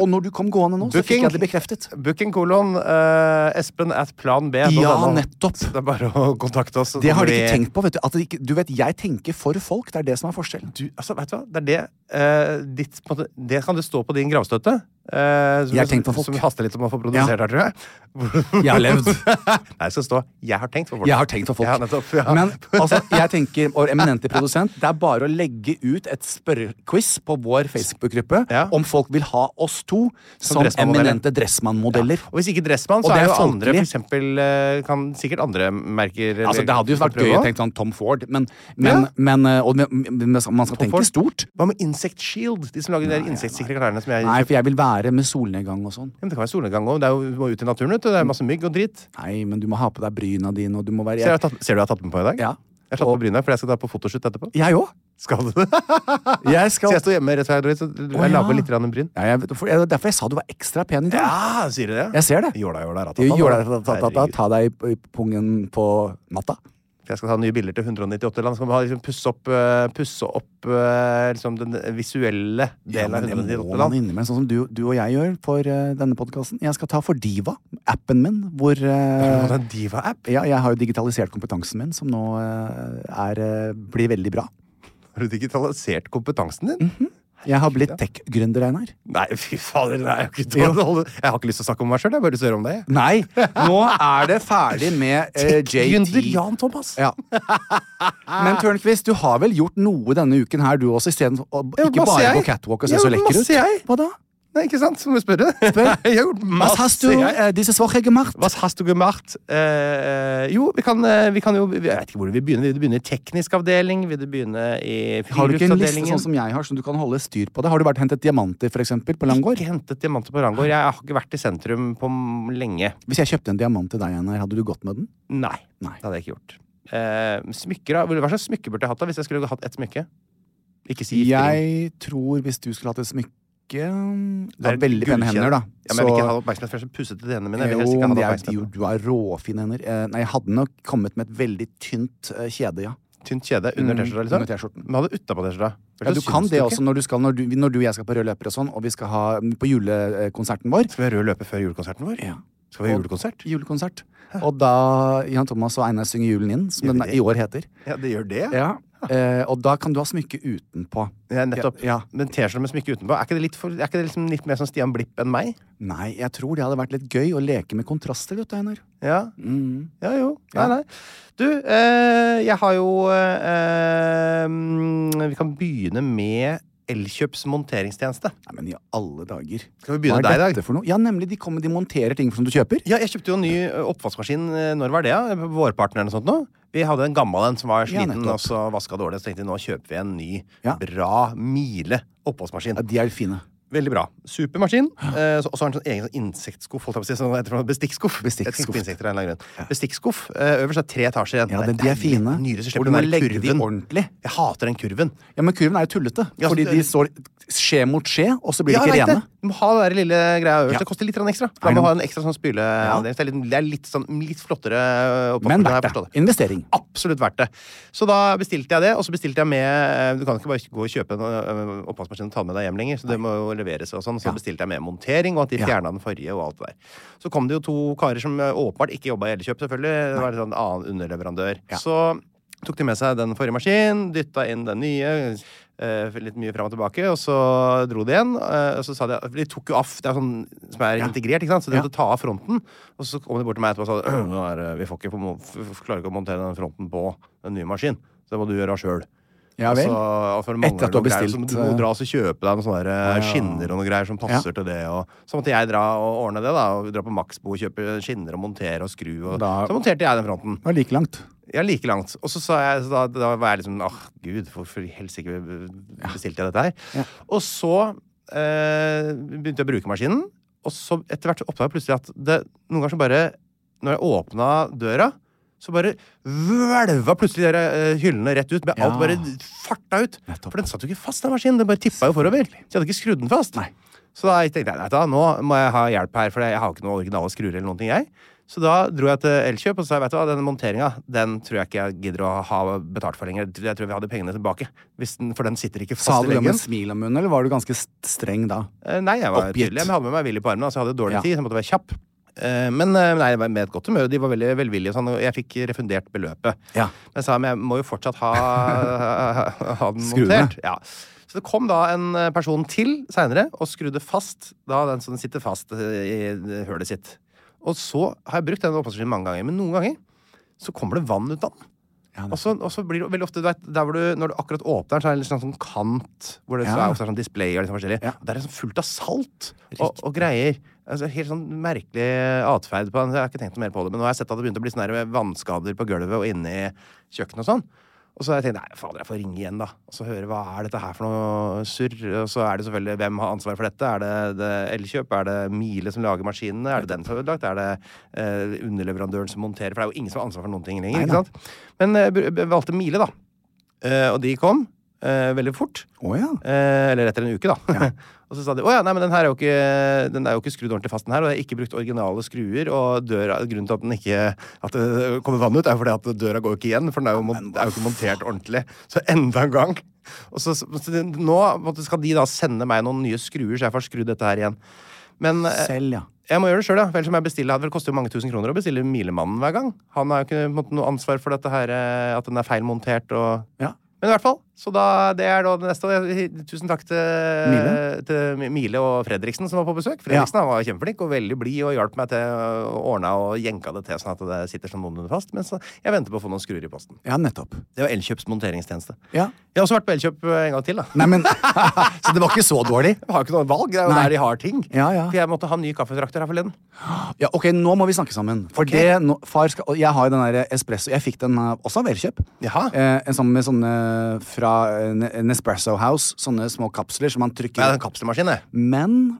Og når du kom gående nå, så fikk
Booking.
jeg det bekreftet.
Booking kolon eh, Espen at plan B.
Ja, nettopp.
(laughs) Det er bare å kontakte oss. så
Det har
kommer
de ikke
vi-
tenkt på, vet du. At det ikke, du vet, jeg tenker for folk. Det er det som er forskjellen.
Du, altså, vet du hva? Det er det eh, ditt, på en måte, Det kan det stå på din gravstøtte. eh, som,
Jeg har tenkt på folk.
Som vi haster litt om å få produsert her, tror jeg.
Jeg har levd.
(laughs) Nei, det skal stå 'Jeg har tenkt på folk'.
Jeg har tenkt på folk.
Ja, nettopp, ja.
Men
(laughs)
altså, jeg tenker, vår eminente produsent, det er bare å legge ut et spørrequiz på vår Facebook-gruppe
Ja.
om folk vil ha oss to som,
dressmannmodeller.
eminente Dressmann-modeller.
Og hvis ikke Dressmann,
Og
så
det
er
er
jo andre
folkelig.
for eksempel, eh, kan sikkert andre merker eller-
Altså, det hadde jo vært
prøve
gøy å
også.
tenke sånn Tom Ford, men, men,
Ja.
men eh, og, men- men man skal tenke
Ford?
stort.
Hva med Insect Shield? De som lager de der insektsikre klærne som jeg
Nei, for jeg vil være med solnedgang og sånn.
Ja, men Det kan være solnedgang òg. Du må ut i naturen. vet du. Det er masse mygg og dritt.
Nei, men du må ha på deg bryna dine, og du må være
Ser du jeg har tatt, ser du jeg har tatt den på i dag?
Ja.
Jeg har tatt på bryna, for jeg skal ta på fotoshoot etterpå.
Jeg òg.
Skal du (laughs) det?
Jeg skal
Så jeg står hjemme rett og slett, så jeg
Å, ja.
lager litt grann bryn.
ja, jeg, for, jeg, Derfor jeg sa du var ekstra pen i dag.
Ja, sier du det?
Jeg ser det.
Jåla, jåla, ratata.
Gjorde det, ta, ta, ta,
Herregud.
ta deg i- i pungen på natta.
For Jeg skal ta nye bilder til 198 land. Så kan vi ha, liksom, pusse opp, eh, pusse opp eh, liksom, den visuelle
Ja,
delen
men
av
det
198
må man
land.
innimellom, sånn som du, du og jeg gjør for eh, denne podkasten. Jeg skal ta for Diva, appen min, hvor eh,
Har du en diva-app?
ja, Jeg har jo digitalisert kompetansen min, som nå eh, er, eh, blir veldig bra.
Har du digitalisert kompetansen din?
Jeg har blitt tech-gründer, Einar.
Nei, fy fader. Det er jo ikke dårlig. Jeg har ikke lyst til å snakke om meg sjøl. Jeg har bare lyst til å høre om (laughs) deg.
Nei, nå er det ferdig med eh, JT.
Gründer Jan Thomas.
Ja. Men Tørnquist, du har vel gjort noe denne uken her, du også, isteden å-
Ja,
Ikke
masse
bare
jeg.
på catwalk og
Ja,
se så lekker
masse jeg.
ut. Hva da?
Nei, ikke sant? Så må jeg spørre. (laughs) jeg har gjort
Hva
masse.
har du
jeg.
eh, disse svake gemacht?
Hva hast du gemacht? Eh, jo, vi kan, eh, vi kan jo Jeg vet ikke hvor vi begynner. Vil du begynne i teknisk avdeling? Vil du begynne i
Har du ikke en liste
friluftsavdelingen?
sånn som jeg har, som du kan holde styr på det? Har du vært og hentet diamanter, for eksempel, på Langård?
Ikke hentet diamanter på Rangård. Jeg har ikke vært i sentrum på m- lenge.
Hvis jeg kjøpte en diamant til deg, Einar, hadde du gått med den?
Nei,
Nei.
det hadde jeg ikke gjort. Eh, smykker, da? Hva slags smykke burde jeg hatt da, hvis jeg skulle hatt ett smykke? Ikke si giftering.
Jeg tror hvis du skulle hatt et smykke Du har
Det er
veldig pene
gullkjede.
hender, da.
Ja, men jeg vil ikke ha oppmerksomhet, for jeg er så pussete til hendene mine. Jeg vil helst
Jo,
ikke ha
men det er
oppmerksomhet.
jo, du har råfine hender. Eh, Nei, jeg hadde nok kommet med et veldig tynt eh, kjede, ja.
Tynt kjede under
Mm,
T-skjorta, liksom?
under T-skjorten.
Men ha det utapå T-skjorta.
Ja, du
Ellers
kan
syns
det
ikke.
også når du, skal, når, du, når du og jeg skal på rød løper og sånn, og vi skal ha på julekonserten vår.
Skal vi ha rød løper før julekonserten vår?
Ja.
Skal vi ha julekonsert?
Julekonsert. Og da Jan Thomas og Einar synger Julen inn, som den i år heter.
Ja, det gjør det?
Ja. Eh, og da kan du ha smykke utenpå.
Ja, nettopp.
Ja, ja.
Men T-skjorte med smykke utenpå, er ikke det litt, for, er ikke det liksom litt mer som Stian Blipp enn meg?
Nei, jeg tror det hadde vært litt gøy å leke med kontraster, vet du, Einar.
Ja. ja jo. Nei, nei. Du, eh, jeg har jo eh, mm, Vi kan begynne med Elkjøps monteringstjeneste.
Nei, men i alle dager.
Skal vi begynne
Hva
deg i
er
dag?
dette for noe? Ja, nemlig. De kommer, de monterer ting som du kjøper.
Ja, jeg kjøpte jo en ny eh, oppvaskmaskin. eh, Når var det? Ja? Vårpartner eller noe sånt? Nå. Vi hadde en gammel en som
Ja,
var sliten
nettopp.
og så vaska dårlig. Så tenkte vi nå kjøper vi en ny,
Ja.
bra mile oppvaskmaskin.
Ja, de er fine.
Veldig bra. Supermaskin. Eh, så- Og så har den sånn egen sånn insektskuff. holdt jeg på å si, sånn, hva heter det for noe? Bestikkskuff. Jeg
Bestikkskuff.
tenkte på insekter av en eller annen grunn. Bestikkskuff. Eh, Øverst er tre etasjer igjen.
Ja, de,
Det
de er
deilig.
fine.
Nylig så
Hvor
slipper
du må
den der
legge de
kurven.
ordentlig.
Jeg hater den kurven.
Ja, men kurven er jo tullete.
Ja, så
fordi
det-
de står skje mot skje, og så blir
Ja,
de
jeg
ikke
vet
rene.
det. Du må ha den der lille greia øverst.
Ja.
Det koster litt grann ekstra.
Er
Da
det
må ha
noe-
en ekstra sånn spyleavdeling. så Det, er litt- det er litt sånn litt flottere eh, oppvaskmaskin.
Men
har jeg
verdt
forstått
det. Investering.
absolutt verdt det. Så da bestilte jeg det, og så bestilte jeg med eh, Du kan ikke bare gå og kjøpe en eh, oppvaskmaskin og ta den med deg hjem lenger, så det må jo leveres og sånn. Så bestilte jeg med montering, og at de
Ja.
fjerna den forrige og alt det der. Så kom det jo to karer som eh, åpenbart ikke jobba i Elkjøp, selvfølgelig. Det var en sånn annen underleverandør. Så tok de med seg den forrige maskinen, dytta inn den nye. eh, litt mye fram og tilbake, og så dro de igjen. eh, og så sa de for De tok jo av Det er sånn som er integrert, ikke sant? så de
Ja.
måtte ta av fronten. Og så kom de bort til meg etterpå og sa «Nå er, det- vi får ikke, på må- f- f- klarer ikke å montere den fronten på den nye maskinen. Så det må du gjøre sjøl.
Ja vel.
Altså- Etter
Etter at du har
så
bestilt,
Du må
eh,
dra og så kjøpe deg noen sånne der, eh, skinner og noen greier som passer til det. Og, så måtte jeg dra og ordne det. da og Dra på Maxbo og kjøpe skinner og montere og skru. Og,
Da-
så monterte jeg den fronten.
Det var like langt.
Ja, like langt. Og så sa jeg, så da, da var jeg liksom Åh, gud, hvorfor i helsike bestilte jeg dette her? Og så eh, begynte jeg å bruke maskinen, og så etter hvert så oppdaga jeg plutselig at det noen ganger så bare Når jeg åpna døra, så bare vølva plutselig de der, eh, hyllene rett ut. Med alt
Ja.
bare farta ut. For den satt jo ikke fast, den maskinen. Den bare tippa jo forover. Så jeg hadde ikke skrudd den fast. Så da tenkte jeg nei, da, nå må jeg ha hjelp her, for jeg har jo ikke noen originale skruer eller noen ting, jeg. Så da dro jeg til Elkjøp og sa vet du hva, den monteringa den tror jeg ikke jeg gidder å ha betalt for lenger. Jeg tror vi hadde pengene tilbake. Hvis den, for den sitter ikke fast
Sa du
i
det med
leggen.
et smil om munnen, eller var du ganske st- streng da?
Eh, Nei, jeg var
Oppgitt.
tydelig. Men jeg hadde med meg Willy på armen. Altså, jeg hadde dårlig
Ja.
tid, så jeg måtte være kjapp. Eh, Men eh, nei, jeg var med et godt humør. og De var veldig velvillige, og sånn, og jeg fikk refundert beløpet.
Ja.
Men jeg sa men jeg må jo fortsatt ha, ha (laughs) den
Skruene.
montert. Ja. Så det kom da en eh, person til seinere og skrudde fast da den som sitter fast eh, i hølet sitt. Og så har jeg brukt den oppvaskmaskinen mange ganger, men noen ganger så kommer det vann ut av den. og, så, og så blir det veldig ofte du vet, der hvor du, Når du akkurat åpner den, så er det litt sånn, sånn kant hvor det så
Ja.
er ofte sånn display og litt sånn forskjellig.
Ja.
Og Der er det sånn fullt av salt og, og greier. Altså, helt sånn merkelig atferd på den. så Jeg har ikke tenkt noe mer på det, men nå har jeg sett at det begynte å bli sånne her vannskader på gulvet og inni kjøkkenet og sånn. Og så har jeg tenkt nei, fader, jeg får ringe igjen, da. Og så høre hva er dette her for noe surr. Og så er det selvfølgelig hvem har ansvaret for dette. Er det, det Elkjøp? Er det Mile som lager maskinene? Er det den som har ødelagt? Er det eh, underleverandøren som monterer? For det er jo ingen som har ansvar for noen ting lenger. ikke sant? Men eh, br- valgte Mile, da. Eh, og de kom eh, veldig fort.
Å ja.
Eh, eller etter en uke, da. (laughs) og så sa de å ja, nei, men den her er jo ikke Den er jo ikke skrudd ordentlig fast, den her. Og jeg har ikke brukt originale skruer. Og døra, grunnen til at den ikke At det kommer vann ut, er fordi at døra går jo ikke igjen. For den er jo, mon- er jo ikke montert ordentlig. Så enda en gang. Og så, så så det- nå måtte- skal de da sende meg noen nye skruer, så jeg får skrudd dette her igjen. Men eh,
Selv, ja.
jeg må gjøre det sjøl, ja. for ellers må jeg bestille. Det koster jo mange tusen kroner å bestille Milemannen hver gang. Han har jo ikke på en måte, noe ansvar for dette her, eh, at den er feilmontert og
Ja.
Men i hvert fall. Så da, det er da det neste. Og jeg- Tusen takk til
Mile?
til Mi- Mile og Fredriksen som var på besøk. Fredriksen han var kjempeflink og veldig blid og hjalp meg til å ordne og jenka det til sånn at det sitter sånn noenlunde fast. Mens jeg venter på å få noen skruer i posten.
Ja, nettopp.
Det var Elkjøps monteringstjeneste.
Ja.
Jeg har også vært på Elkjøp eh, en gang til, da.
Nei, men (laughs) Så det var ikke så dårlig?
(laughs) Jeg har jo ikke noe valg. Det er jo
Nei.
der de har ting.
Ja, ja.
For jeg måtte ha ny kaffetrakter her forleden.
Ja, ok, Nå må vi snakke sammen. For det, nå- far skal, og jeg har jo den der espresso Jeg fikk den eh, også av Elkjøp.
Jaha.
Eh, en sånn med sånne fra eh, Ne- Nespresso House. Sånne små kapsler som man trykker
Jeg har en kapselmaskin, jeg.
Men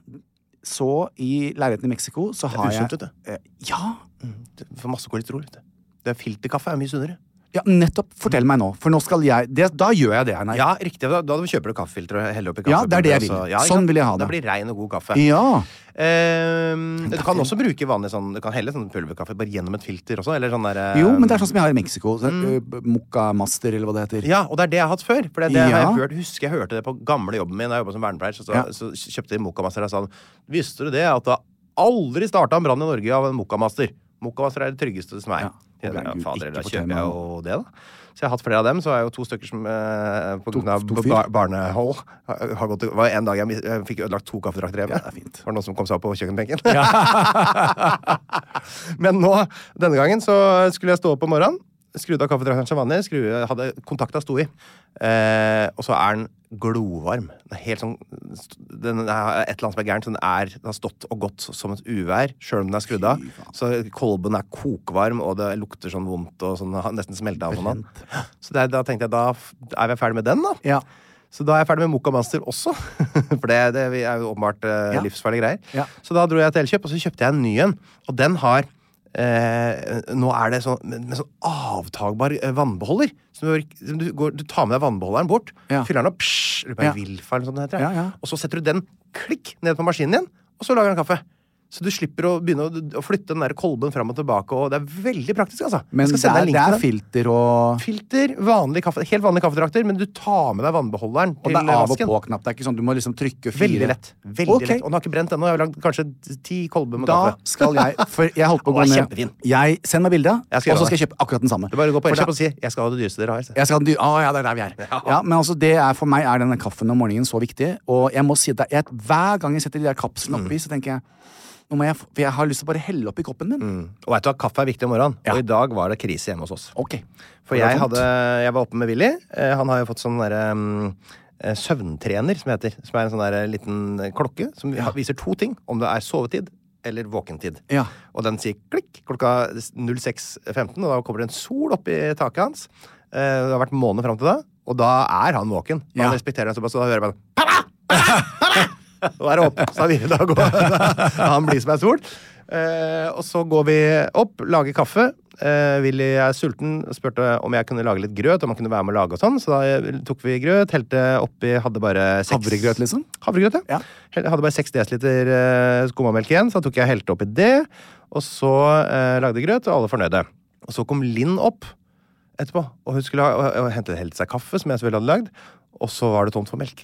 så, i leiligheten i Mexico, så har
usunt,
jeg
vet du.
eh, ja,
Det- For masse kolesterol. vet du. Det er Filterkaffe er mye sunnere.
ja, nettopp. Fortell meg nå, for nå skal jeg det, Da gjør jeg det, Einar.
Ja, riktig. Da, da kjøper du kaffefilter og heller oppi
Ja, det er det jeg vil.
kaffebønner, og så- altså. ikke
Sånn
sant?
vil jeg ha
Da
det.
blir det rein og god kaffe.
Ja.
Ehm, du kan også bruke vanlig sånn Du kan helle sånn pulverkaffe bare gjennom et filter også, eller sånn der eh,
Jo, men det er sånn som jeg har i Mexico. Så,
mm.
eh, Mocha Master, eller hva det heter.
Ja, og det er det jeg har hatt før. For det, det har
Ja.
jeg hørt, husker jeg hørte det på gamle jobben min. Da jeg jobbet som vernepleier, så, så,
Ja.
så kjøpte de Mokamaster og sa han, Visste du det at det aldri starta en brann i Norge av en Mokamaster? Mokkavasser er det tryggeste som er.
Ja.
Ja,
Og Bergur,
fader,
ikke
da
på
kjøper
temaet.
jeg jo det, da. Så jeg har hatt flere av dem. Så er jo to stykker som eh, på
To-
grunn av
to
ba-
fyr?
bar barnehold har har gått Det var en dag jeg, mis- jeg fikk ødelagt to kaffedrakter hjemme.
Ja, det er fint.
Var det noen som kom seg opp på kjøkkenbenken? (laughs) Men nå, denne gangen, så skulle jeg stå opp om morgenen. Skrudde av kaffedrakteren som vanlig. Skru, hadde kontakta sto i. Eh, og så er den glovarm. Den er helt sånn den er Et eller annet som er gærent. så Den, er, den har stått og gått som et uvær, sjøl om den er skrudd av. Så kolben er kokvarm, og det lukter sånn vondt og sånn, har nesten smelta av. Sånn. Så det, er- da tenkte jeg da f- er vi ferdig med den, da.
Ja.
Så da er jeg ferdig med Moka Master også. (laughs) For det, det er jo åpenbart eh,
Ja.
livsfarlige greier.
Ja.
Så da dro jeg til Elkjøp, og så kjøpte jeg en ny en. Og den har eh, Nå er det sånn med, med sånn avtagbar eh, vannbeholder. Som du, som du, går, du tar med deg vannbeholderen bort,
Ja.
fyller den opp psh, lurer på om det er
Ja.
Wilfa eller noe sånt det heter,
Ja, ja.
Og så setter du den klikk ned på maskinen din, og så lager den kaffe. Så du slipper å begynne å, å flytte den der kolben fram og tilbake. Og det er veldig praktisk, altså. Jeg
Men
skal
det
sende deg
er,
en link
det
til
er
den.
filter og
Filter, vanlig kaffe, helt vanlige kaffedrakter, men du tar med deg vannbeholderen
Og
til
det er av og
vasken.
på-knapp. Det er ikke sånn du må liksom trykke fire.
Veldig lett. Veldig
Ok.
lett. Og den har ikke brent ennå. Jeg har lagd kanskje ti kolber med
Da
kaffe.
skal jeg For jeg holdt på å gå
Å,
ned.
kjempefin.
Jeg, send meg bildet,
Jeg
og
skal gjøre
så skal jeg
det.
kjøpe akkurat den samme.
Det er bare å gå på
For
Elkjøp
da-
og si 'jeg skal ha det dyreste dere har'.
jeg skal ha den dy- Å, ja, det er der vi er.
(laughs)
Ja. men altså, det er, for meg er denne kaffen om morgenen så viktig. Og jeg må si at det er- jeg, hver gang jeg setter de der kapslene
Mm.
oppi, så tenker jeg nå må jeg, f- For jeg har lyst til å bare helle oppi koppen min.
Og vet du hva, kaffe er viktig om morgenen.
Ja.
Og i dag var det krise hjemme hos oss.
Ok.
For
Det var
jeg,
vondt.
hadde, jeg var oppe med Willy. Eh, Han har jo fått sånn derre mm, eh, Søvntrener, som det heter. Som er en sånn der liten eh, klokke som vi- viser to ting. Om det er sovetid eller våkentid.
Ja.
Og den sier klikk klokka 06.15, og da kommer det en sol opp i taket hans. Eh, Det har vært måned fram til da, og da er han våken. Og
Ja.
Han respekterer den såpass, og da hører jeg bare «Pappa! Pappa! Pappa!» Og (laughs) da er det opp. Så da vil da gå. (laughs) Han blir som ei sol. Eh, og så går vi opp, lager kaffe. Eh, Willy er sulten, spurte om jeg kunne lage litt grøt. Om han kunne være med å lage og sånn Så da eh, tok vi grøt, helte oppi, hadde bare seks
Havregrøt, liksom?
Havregrøt, ja.
Ja.
Jeg hadde bare 6 dl skummamelk igjen, så da tok jeg og helte oppi det. Og så eh, lagde jeg grøt, og alle fornøyde. Og så kom Linn opp etterpå, og hun skulle ha, og, og hente helte seg kaffe, som jeg selvfølgelig hadde lagd, og så var det tomt for melk.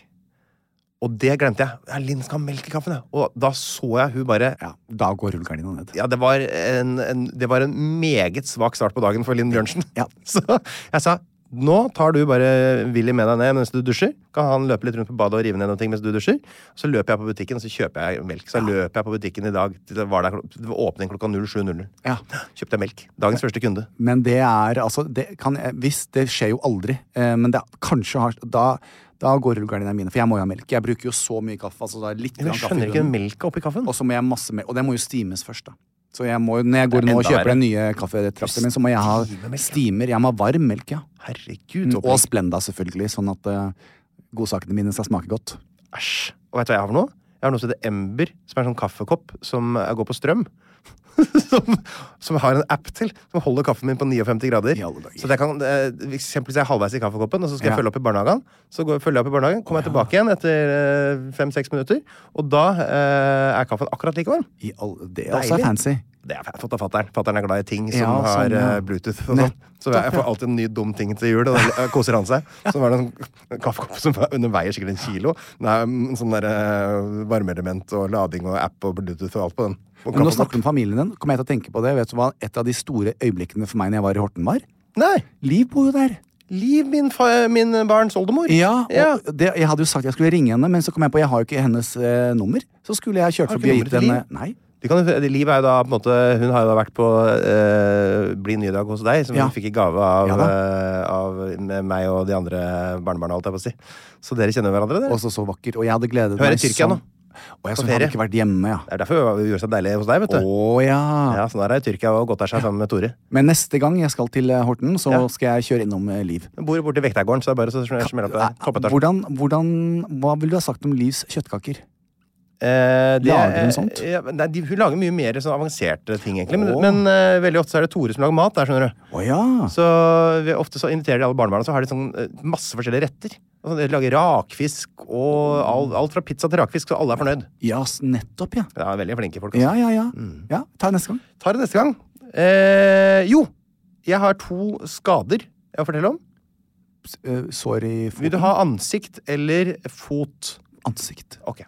Og det glemte jeg. Ja, Linn skal ha melk i kaffen, ja. Og da så jeg hun bare
Ja, da går rullegardina ned.
ja, det var en, en, det var en meget svak start på dagen for Linn Bjørnsen.
Ja.
(laughs) Så jeg sa nå tar du bare Willy med deg ned mens du dusjer. Kan han løpe litt rundt på badet og rive ned noen ting mens du dusjer? Så løper jeg på butikken og så kjøper jeg melk. Så løper jeg på butikken i dag. til Det var der, klok- det var åpning klokka 07.00.
Ja.
Kjøpte jeg melk. Dagens første kunde.
Men det er altså det kan, jeg- Hvis det skjer jo aldri, eh, men det er- kanskje har Da, da går rullegardinene mine, for jeg må jo ha melk. Jeg bruker jo så mye kaffe. Altså, da er litt
Men
grann
jeg
kaffe i
skjønner ikke
bunnen.
melka oppi kaffen.
Og så må jeg ha masse melk. Og det må jo stimes først, da. Så jeg må, jo- når jeg går
Det er
nå og
enda
kjøper
verre.
den nye kaffetrakteren min, så må jeg ha
Stime melk, ja.
stimer. Jeg må ha varm melk, ja. Mm,
Herregud.
Og Splenda, selvfølgelig, sånn at eh, godsakene mine skal smake godt.
Æsj. Og vet du hva jeg har for noe? Jeg har noe som heter Ember, som er en sånn kaffekopp som eh, går på strøm. (laughs) som, som jeg har en app til, som holder kaffen min på 59 grader.
I alle dager.
Så at jeg kan, eh, for eksempel hvis jeg er halvveis i kaffekoppen, og så skal
Ja.
jeg følge opp i barnehagen, så går, følger jeg opp i barnehagen, kommer jeg tilbake igjen etter fem-seks minutter, og da eh, er kaffen akkurat like varm.
I all, det er også
Deilig.
fancy.
Det er fått av fattern. Fattern er glad i ting som
Ja, sånn,
har
ja.
eh, Bluetooth og sånn. Så jeg får alltid en ny dum ting til jul, og da koser han seg. Så var det en sånn kaffekopp som var- den veier sikkert en kilo. Den er mm, sånn der eh, varmeelement og lading og app og Bluetooth og alt på den. Og
Men nå
kaffekopp.
snakker vi om familien din. Kommer jeg til å tenke på det? Vet du hva et av de store øyeblikkene for meg når jeg var i Horten, var?
Nei!
Liv bor jo der.
Liv, min, fa min barns oldemor.
Ja, og
Ja.
Det, Jeg hadde jo sagt jeg skulle ringe henne, men så kom jeg på jeg har jo ikke hennes eh, nummer. Så skulle jeg kjørt
Har du
forbi og
ikke
gitt henne
nummeret
Nei.
De kan, jo- Liv er jo da på en måte Hun har jo da vært på eh, Bli ny dag hos deg, som
Ja.
hun fikk i gave av,
Ja da.
eh, av med meg og de andre barnebarna, holdt jeg på å si. Så dere kjenner hverandre, dere?
Også så vakker. Og jeg hadde gledet
Hun
meg
er i Tyrkia
sånn.
nå.
Og jeg
På
som hadde
ferie.
ikke vært hjemme, ja.
Det er derfor hun gjorde seg deilig hos deg, vet
Å
du.
ja.
Ja, sånn er det i Tyrkia og godt er seg sammen med Tore.
Men neste gang jeg skal til eh, Horten, så
Ja.
skal jeg kjøre innom eh, Liv.
Jeg bor borte i Vektergården, så det er bare så smell- smell opp der. Toppetasjen.
Hvordan, hvordan, hva ville du ha sagt om Livs kjøttkaker?
Eh, det-
Lager hun sånt?
eh, ja, nei, de, hun lager mye mer sånn avanserte ting, egentlig. Men,
Åh.
men eh, veldig ofte så er det Tore som lager mat der, skjønner du.
Å ja.
Så vi, ofte så inviterer de alle barnebarna, så har de sånn eh, masse forskjellige retter. Og sånn, de lager rakfisk og all, alt fra pizza til rakfisk, så alle er fornøyd.
Ja, s- nettopp, ja. Mm.
Ja, veldig flinke folk. Altså.
Ja, ja, ja. ja ta det neste gang.
Tar det neste gang. Eh, jo! Jeg har to skader jeg vil fortelle om.
S- eh, Sår i
Vil
foten.
du ha ansikt eller fot?
Ansikt.
Ok.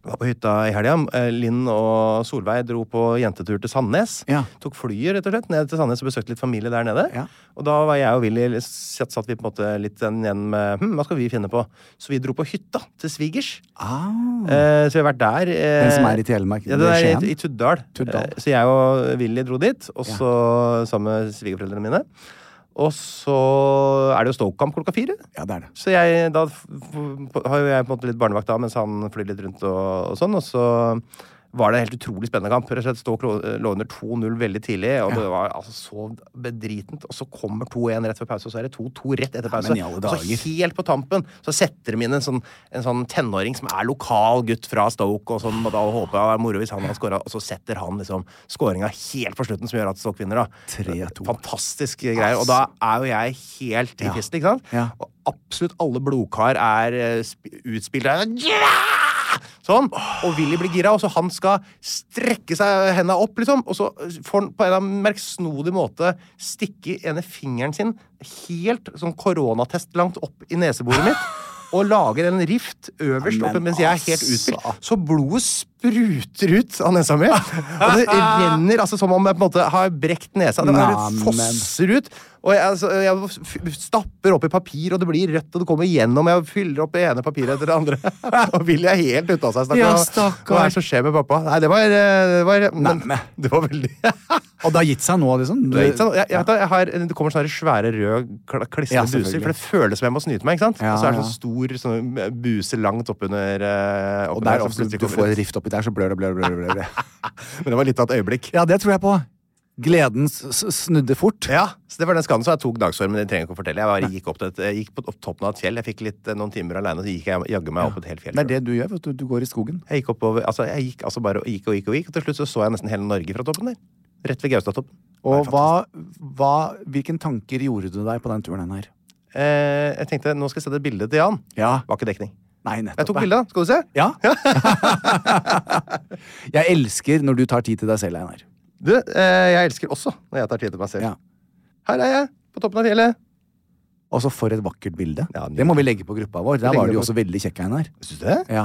Jeg var på hytta i helga. Eh, Linn og Solveig dro på jentetur til Sandnes.
Ja.
Tok flyet rett og slett ned til Sandnes og besøkte litt familie der nede.
Ja.
Og da var jeg og Willy satt, satt vi på en måte litt igjen med hm, hva skal vi finne på? Så vi dro på hytta til svigers.
Ah.
Eh, så vi har vært der. eh,
Den som er i Telemark,
Ja, den
ved
er
Skien?
i, i Tuddal.
Tuddal.
Eh, så jeg og Willy dro dit, og så sammen med svigerforeldrene mine. Og så er det jo Stoke-kamp klokka fire.
Ja, det er det.
Så jeg, da f- f- har jo jeg på en måte litt barnevakt da, mens han flyr litt rundt og, og sånn, og så var det en helt utrolig spennende kamp. Rett og slett Stoke lå- lå under 2-0 veldig tidlig, og det var altså så bedritent. Og så kommer 2-1 rett før pause, og så er det 2-2 rett etter pause.
men i alle
og så
dager.
helt på tampen så setter de inn en sånn, en sånn tenåring som er lokal gutt fra Stoke, og som da håper det er moro hvis han har skåra, og så setter han liksom skåringa helt på slutten, som gjør at Stoke vinner, da.
3-2.
Fantastisk greier. Og da er jo jeg helt i
Ja.
fisten, ikke sant?
Ja.
Og absolutt alle blodkar er eh, sp- utspilt. og jeg er sånn, «Ja!» Sånn. Og Willy blir gira, og så han skal strekke seg henda opp, liksom. Og så får han på en eller annen merksnodig måte stikke ene fingeren sin helt sånn koronatest langt opp i neseboret
(laughs)
mitt. Og lager en rift øverst
Men
oppe mens jeg er helt
altså.
utspilt. Så blodet spruter ut av nesa
(laughs)
mi. Og det renner altså som om jeg på en måte har brekt nesa. Det bare
Neimen.
fosser ut. Og jeg, altså, jeg f- stapper opp i papir, og det blir rødt, og det kommer gjennom. Jeg fyller opp det ene papiret etter det andre. (laughs) og vil jeg helt ute av seg,
Ja,
Hva er det som skjer med pappa? Nei, det var, eh, det var, men,
Neimen.
(laughs) det var veldig
Og det har gitt seg nå, liksom?
Det, er ikke sant? jeg, jeg, vet da, jeg har, det kommer sånne svære røde kla- klistrede
Ja,
buser,
selvfølgelig.
for det føles som jeg må snyte meg. ikke sant?
Ja,
og så er det
ja.
sånn stor sånn, buse langt oppunder. eh,
Og
oppunder,
der,
som
ofte
plutselig
du
kommer
får
ut.
et rift oppi der, så blør det, blør det, blør det. blør det.
Men det var litt av et øyeblikk.
Ja, det tror jeg på. Gleden s- s- snudde fort.
Ja, så det var den skaden. Så jeg tok dagsformen. Det trenger jeg ikke å fortelle. Jeg bare gikk, opp til et, jeg gikk på opp toppen av et fjell. Jeg fikk litt, eh, noen timer alene, så gikk jeg jaggu meg opp et helt fjell.
Det er det du gjør. vet Du, du går i skogen.
Jeg gikk oppover, altså jeg gikk altså bare og gikk og gikk, og gikk, og til slutt så, så jeg nesten hele Norge fra toppen der. Rett ved Gaustatoppen.
Og
Det var
hva, hva, hvilke tanker gjorde du deg på den turen her?
fantastisk. eh, Jeg tenkte, nå skal jeg sette et bilde til Jan.
Ja.
Var ikke dekning.
Nei, nettopp.
Jeg tok
ja.
bilde, da. Skal du se? (laughs)
Ja. (laughs) jeg elsker når du tar tid til deg selv, Einar.
Du, eh, jeg elsker også når jeg tar tid til meg selv.
Ja.
Her er jeg, på toppen av fjellet.
Og så Altså, for et vakkert bilde.
Ja, nydelig.
det må vi legge på gruppa vår. Der
legger
var du
det
jo
på-
også veldig kjekk, Einar.
Syns du det?
Ja.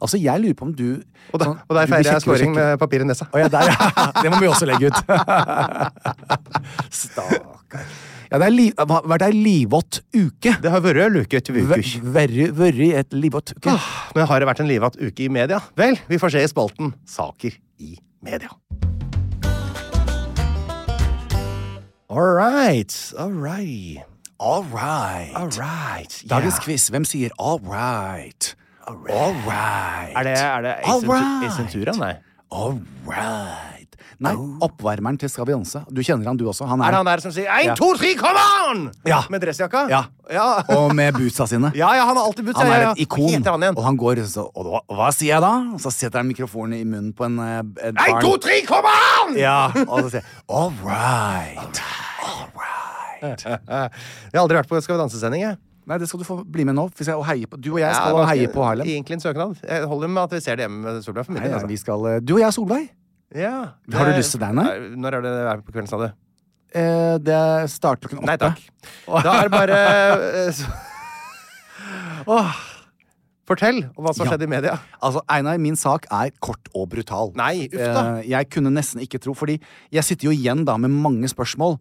Altså, jeg lurer på om du
Og, da,
sånn, du
og der
blir
feirer jeg
kjekkere og
scoring
kjekkere.
med papir i nesa.
Å ja, der, ja. (laughs) Det må vi også legge ut. Stakkar. Ja, det har li, hva- vært ei livvåt uke.
Det har vært luke etter uke.
Vært i et livvåt uke.
Nå Ah, har det vært en livatt uke i media. Vel, vi får se i spalten Saker i media. All right, all right,
All right.
all right. yeah.
Dagens quiz. Hvem sier all right? All right. All right.
Er det, er det Ace
All
Ventura-
right.
Ace Ventura? Nei.
All right. Nei, oppvarmeren til Skal vi danse. Du kjenner han du også. Han
Oh. Er
er,
det han der som sier 1, 2, 3, come on!
Ja.
Med dressjakka?
Ja.
Ja.
Og med bootsa sine.
(laughs) ja, ja, han har alltid budt
Han
ja,
er
ja,
et
ja.
ikon.
Hva heter han igjen?
Og han går så, og hva, hva sier jeg da? Og så setter han mikrofonen i munnen på en, eh, et
1, 2, 3, come on!
Ja, og så sier jeg, all right. All
Eh.
right.
(laughs) Jeg har aldri vært på Skal vi danse-sending, jeg.
Nei, det skal du få bli med nå. for jeg skal heie på, du og jeg
Ja,
skal
det var
heie
ikke-
på Harlem.
Egentlig en søknad. Jeg holder med at vi ser det hjemme med Solveig. for min
Nei,
del,
nei,
altså.
vi skal, eh, du og jeg, Solveig.
Ja.
Har du
Det-
lyst til deg, nei?
Nei, Når er det det er på kvelden, sa du?
Eh, det starter klokken åtte.
Nei takk. Da er det bare eh, så- (laughs) Åh. Fortell om hva som
Ja.
har skjedd i media.
Altså, Einar, min sak er kort og brutal.
Nei, uff da.
Eh, jeg kunne nesten ikke tro, fordi jeg sitter jo igjen da med mange spørsmål.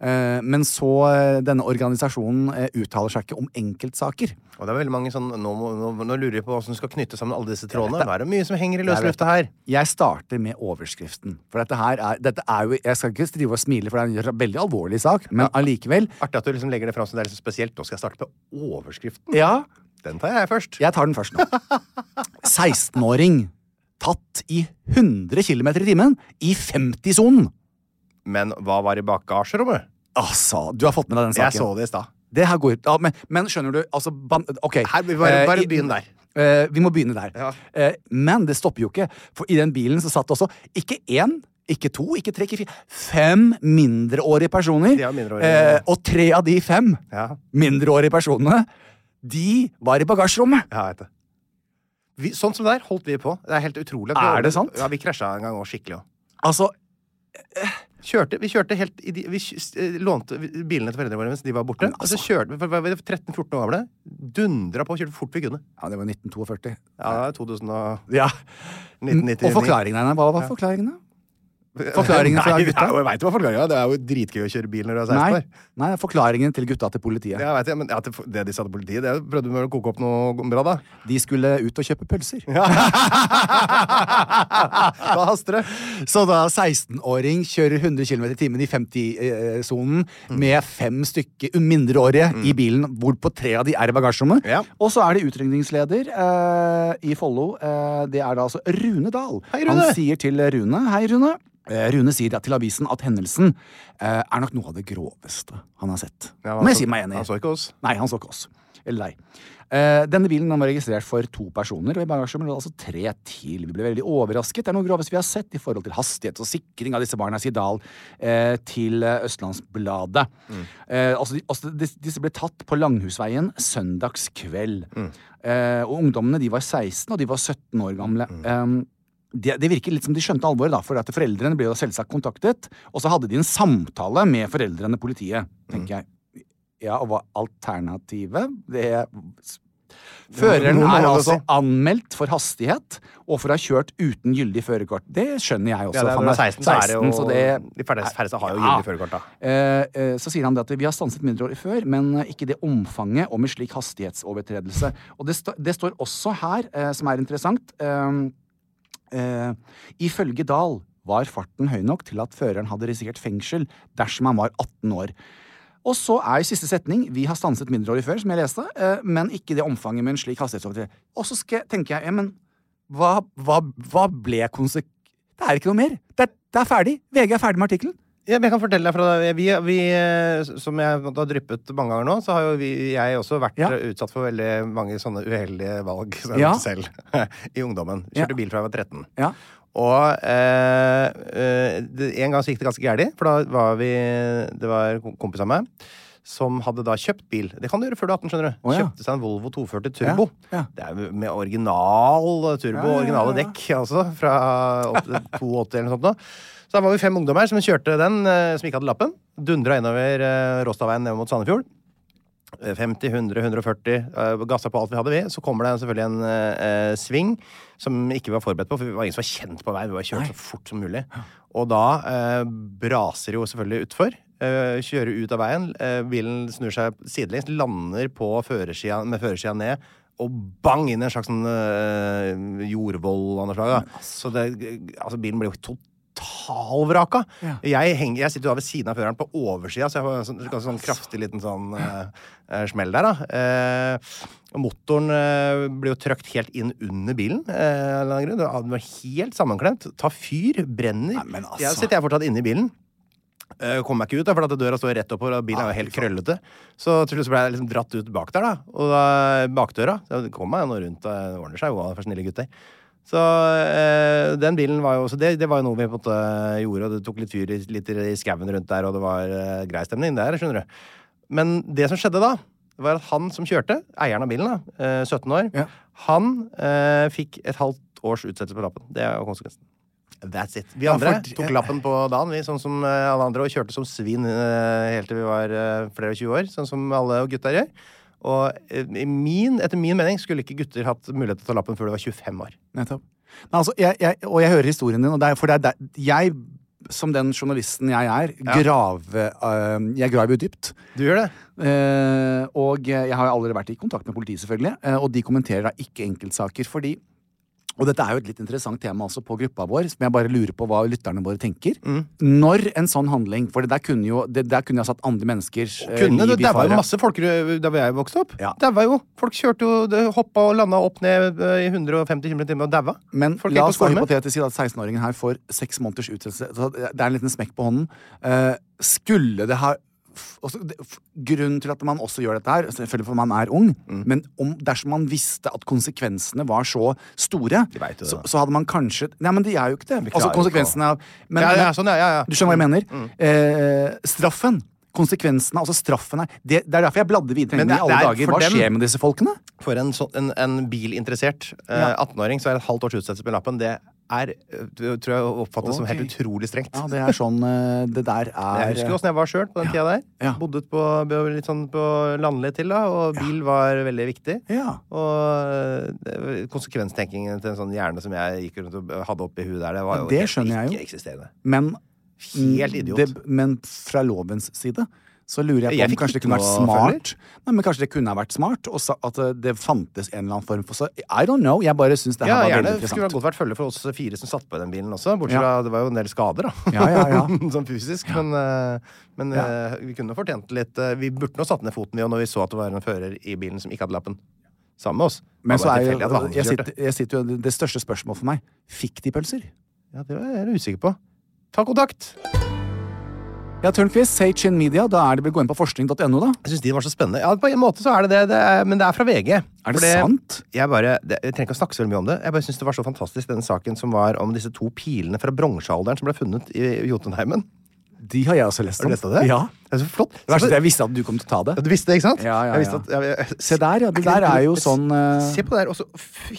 Eh, men så eh, denne organisasjonen eh, uttaler seg ikke om enkeltsaker.
Og det er veldig mange sånn, Nå, må- nå, nå lurer jeg på hvordan du skal knytte sammen alle disse trådene. Nå er det mye som henger i løse
Jeg vet
lufta her.
Jeg starter med overskriften. For dette her er, dette er jo Jeg skal ikke drive og smile, for det er en veldig alvorlig sak, men allikevel.
Artig at du liksom legger det fram som det er liksom spesielt. Nå skal jeg starte med overskriften.
Ja,
Den tar jeg først.
jeg tar den først nå. 16-åring tatt i 100 km i timen i 50-sonen.
Men hva var i bagasjerommet?
Altså, du har fått med deg den
Jeg
saken.
så det i stad.
Det her går ja, men, men skjønner du, altså ban, Ok.
Her, vi bare-
Eh,
bare
i-
begynn der.
Eh, vi må begynne der.
Ja.
Eh, men det stopper jo ikke, for i den bilen så satt det også ikke én, ikke to, ikke tre, ikke fire Fem mindreårige personer.
De er mindreårige,
eh,
ja.
og tre av de fem
Ja.
mindreårige personene, de var i bagasjerommet.
Ja, jeg vet det. Vi, sånn som det der holdt vi på. Det er helt utrolig. at
Er det sant?
Ja, Vi krasja en gang òg, skikkelig òg.
Altså
Kjørte, vi kjørte helt i de, Vi kj- eh, lånte bilene til foreldrene våre mens de var borte.
Men
Og så kjørte vi, for var vi 13-14 år gamle. Dundra på, kjørte fort vi kunne.
Ja, det var 1942.
Ja, det er 2000 og
Ja.
1999.
Og forklaringene, Einar. Hva var forklaringene? Forklaringene fra
(laughs) Nei, det
gutta?
er jo- jeg vet hva forklaringen er. Det er jo dritgøy å kjøre bil når du er 16
Nei,
år.
nei, forklaringen til gutta til politiet.
Ja, jeg vet det, men at det, det de sa til politiet, det prøvde vi vel å koke opp noe bra, da.
De skulle ut og kjøpe pølser. (laughs)
da haster det.
Så da 16-åring kjører 100 km i timen i 50-sonen med fem stykker mindreårige i bilen, hvorpå tre av de er i bagasjerommet.
Mm. Ja.
Og så er det utrykningsleder eh, i Follo. Eh, det er da altså Rune Dahl.
Hei, Rune!
Han sier til Rune Hei, Rune. Eh, Rune sier da til avisen at hendelsen eh, er nok noe av det groveste han har sett.
Ja, altså, han
Må jeg
så-
si meg enig i.
Han så ikke oss.
Nei, han så ikke oss. Eller nei. Eh, denne bilen den var registrert for to personer, og i bagasjen lå det altså tre til. Vi ble veldig overrasket. Det er noe grovest vi har sett i forhold til hastighet og sikring av disse barna, sier Dahl eh, til eh, Østlandsbladet. Eh, altså, de, altså, dis- disse ble tatt på Langhusveien søndagskveld. Eh, og ungdommene de var 16, og de var 17 år gamle. Eh, det, det virker litt som de skjønte alvoret, da, for at foreldrene ble jo selvsagt kontaktet. Og så hadde de en samtale med foreldrene og politiet, tenker jeg. Ja, og hva alternativet? Det Føreren
noen må
er
holde
altså
seg.
anmeldt for hastighet og for å ha kjørt uten gyldig førerkort. Det skjønner jeg også.
Ja, det er
for
når
han
du er 16, så er det jo-
så det-
de færreste- færreste har jo gyldig førerkort, da.
Eh, eh, Så sier han det at vi har stanset mindreårige før, men eh, ikke det omfanget og med slik hastighetsovertredelse. Og det, sta- det står også her, eh, som er interessant eh, Eh, ifølge Dahl var farten høy nok til at føreren hadde risikert fengsel dersom han var 18 år. Og så er siste setning Vi har stanset mindreårige før, som jeg leste, eh, men ikke i det omfanget med en slik hastighetsovertredelse. Og så skal, jeg- tenker jeg, ja, men hva, hva, hva ble konsek... Det er ikke noe mer. Det er, det er ferdig. VG er ferdig med artikkelen.
Ja, men jeg kan fortelle deg fra det. Vi, vi, eh, som jeg på en måte har dryppet mange ganger nå, så har jo vi, jeg også vært
Ja.
eh, utsatt for veldig mange sånne uheldige valg som jeg
Ja.
har gjort selv (laughs) i ungdommen.
Ja.
Kjørte bil fra jeg var 13.
Ja.
Og eh, eh, det, en gang så gikk det ganske gærent, for da var vi Det var en kom- kompis av meg som hadde da kjøpt bil. Det kan du gjøre før du er 18, skjønner du.
Å, ja.
Kjøpte seg en Volvo 240 Turbo.
Ja, ja.
Det er jo med original eh,
Ja,
turbo,
ja, ja,
originale
ja.
dekk altså, fra (laughs) opp til 82 eller noe sånt nå. Så da var vi fem ungdommer som kjørte den, eh, som ikke hadde lappen. Dundra innover eh, Råstadveien ned mot Sandefjord. Eh, 50, 100, 140. eh, Gassa på alt vi hadde, vi. Så kommer det selvfølgelig en eh, eh, sving som vi ikke var forberedt på, for vi var ingen som var kjent på vei. Vi var kjørt så fort som mulig. Og da eh, braser det jo selvfølgelig utfor. Eh, kjører ut av veien. Eh, bilen snur seg sidelengs, lander på førersida, med førersida ned. Og bang inn i en slags sånn, eh, jordvoll av noe slag. da. Så det, altså, bilen ble jo totalvraka. Jeg, henger, jeg sitter jo da ved siden av føreren på oversida, så jeg får en sånn, ganske sånn kraftig liten sånn eh, eh, smell der, da. Eh, og motoren eh, ble jo trøkt helt inn under bilen. Eh, av en eller annen grunn. Den var helt sammenklemt. Tar fyr, brenner.
Nei, men altså.
Jeg sitter jeg fortsatt inne i bilen. Eh, Kommer meg ikke ut, da, for at døra står rett oppover, og bilen er jo helt krøllete. Så til slutt så ble jeg liksom dratt ut bak der, da. Og da, bakdøra. Så jeg kom meg nå rundt, og det ordner seg jo for snille gutter. Så eh, den bilen var jo også det, det var jo noe vi på en måte gjorde, og det tok litt fyr i, litt i skauen rundt der, og det var eh, grei stemning der, skjønner du. Men det som skjedde da, var at han som kjørte, eieren av bilen, da, eh, 17 år,
Ja.
han eh, fikk et halvt års utsettelse på lappen. Det er jo konsekvensen. That's it. Vi
Ja,
andre
for-
tok lappen på dagen, vi, sånn som eh, alle andre, og kjørte som svin eh, helt til vi var eh, flere og 20 år, sånn som alle gutta gjør. Og eh, i min, etter min mening skulle ikke gutter hatt mulighet til å ta lappen før de var 25 år.
Nettopp. Nei, altså, jeg, jeg, og jeg hører historien din, og det er, for det er der, jeg, som den journalisten jeg er, grave, øh, jeg graver jo dypt.
Du gjør det?
Eh, og jeg har jo allerede vært i kontakt med politiet, selvfølgelig, eh, og de kommenterer da ikke enkeltsaker, fordi og dette er jo et litt interessant tema også på gruppa vår, som jeg bare lurer på hva lytterne våre tenker.
Mm.
Når en sånn handling For det der kunne jo det der kunne jeg satt andre menneskers eh,
Kunne, det,
liv i
det var jo
fare.
masse folk eh, da jeg vokste opp.
Ja.
Det var jo, Folk kjørte jo, det hoppa og landa opp ned eh, i 150 km i timen og daua.
Men
folk
la
gikk på
oss være
skole med.
hypotetisk si at 16-åringen her får seks måneders utsettelse. Så Det er en liten smekk på hånden. Eh, skulle det ha f- også, det, f, Grunnen til at man også gjør dette her, altså, selvfølgelig fordi man er ung,
Mm.
men om, dersom man visste at konsekvensene var så store,
vet jo det,
så,
da.
så hadde man kanskje Nei, men de er jo ikke det.
Vi klarer
Altså
jo
konsekvensene av men,
Ja, ja,
men-
sånn, ja, ja, Mm. ja.
Du skjønner hva jeg mener? Eh, straffen. Konsekvensene, altså straffen her. Det, det er derfor jeg bladde videre
Men
i
det-
alle
det er
dager.
for
Hva
dem-
skjer med disse folkene?
For en, sånn- en, en bilinteressert eh,
Ja.
18-åring så er et halvt års utsettelse på lappen det er eh, tror jeg oppfattes som helt
Ok.
utrolig strengt.
Ja, det er sånn eh, Det der
Jeg
er
husker åssen jeg var sjøl på den tida der.
Ja.
Bodde på, ble litt sånn på landlig til, da, og bil var veldig viktig.
Ja.
Og eh, konsekvenstenkingen til en sånn hjerne som jeg gikk rundt og hadde oppi huet der, det
Ja,
var jo
det
helt
skjønner jeg jo.
ikke-eksisterende.
Men
Helt idiot.
Det, men fra lovens side så lurer jeg på
Jeg
om
fikk
kanskje det
ikke
kunne vært
noe
smart Nei, men kanskje det kunne ha vært smart og sa, at eh, det fantes en eller annen form for så, I don't know. Jeg bare syns det
Ja,
her var
gjerne
veldig
skulle det
interessant.
godt vært følge for oss fire som satt på den bilen også. Bortsett
Ja.
fra det var jo en del skader, da.
Ja, ja, ja.
(laughs) sånn fysisk. Men, eh, men eh, vi kunne fortjent litt eh, Vi burde nå satt ned foten, vi, og når vi så at det var en fører i bilen som ikke hadde lappen. Sammen med oss.
Men
Det
så
var
er
bare
jo
tilfeldig at det var han som
jeg
kjørte.
sitter, jeg sitter jo Det største spørsmålet for meg Fikk de pølser?
Ja, det er jeg usikker på. Ta kontakt!
Ja, Tørnquist, say Chin Media. Da er det vel gå inn på forskning.no, da.
Jeg synes de var så spennende. Ja, på en måte så er det det, det er, men det er fra VG.
Er det sant?
Jeg bare, det, jeg trenger ikke å snakke så veldig mye om det. Jeg bare synes det var så fantastisk, denne saken som var om disse to pilene fra bronsealderen som ble funnet i Jotunheimen.
De har jeg også lest
Har
om.
du lest om det?
Ja.
Det er så flott.
Det verste er at jeg visste at du kom til å ta
Ja,
det.
Du visste det, ikke sant?
Ja, ja,
Jeg visste
ja.
at, jeg, jeg,
Se der, ja. Det der er jo sånn eh,
Se på det her, og så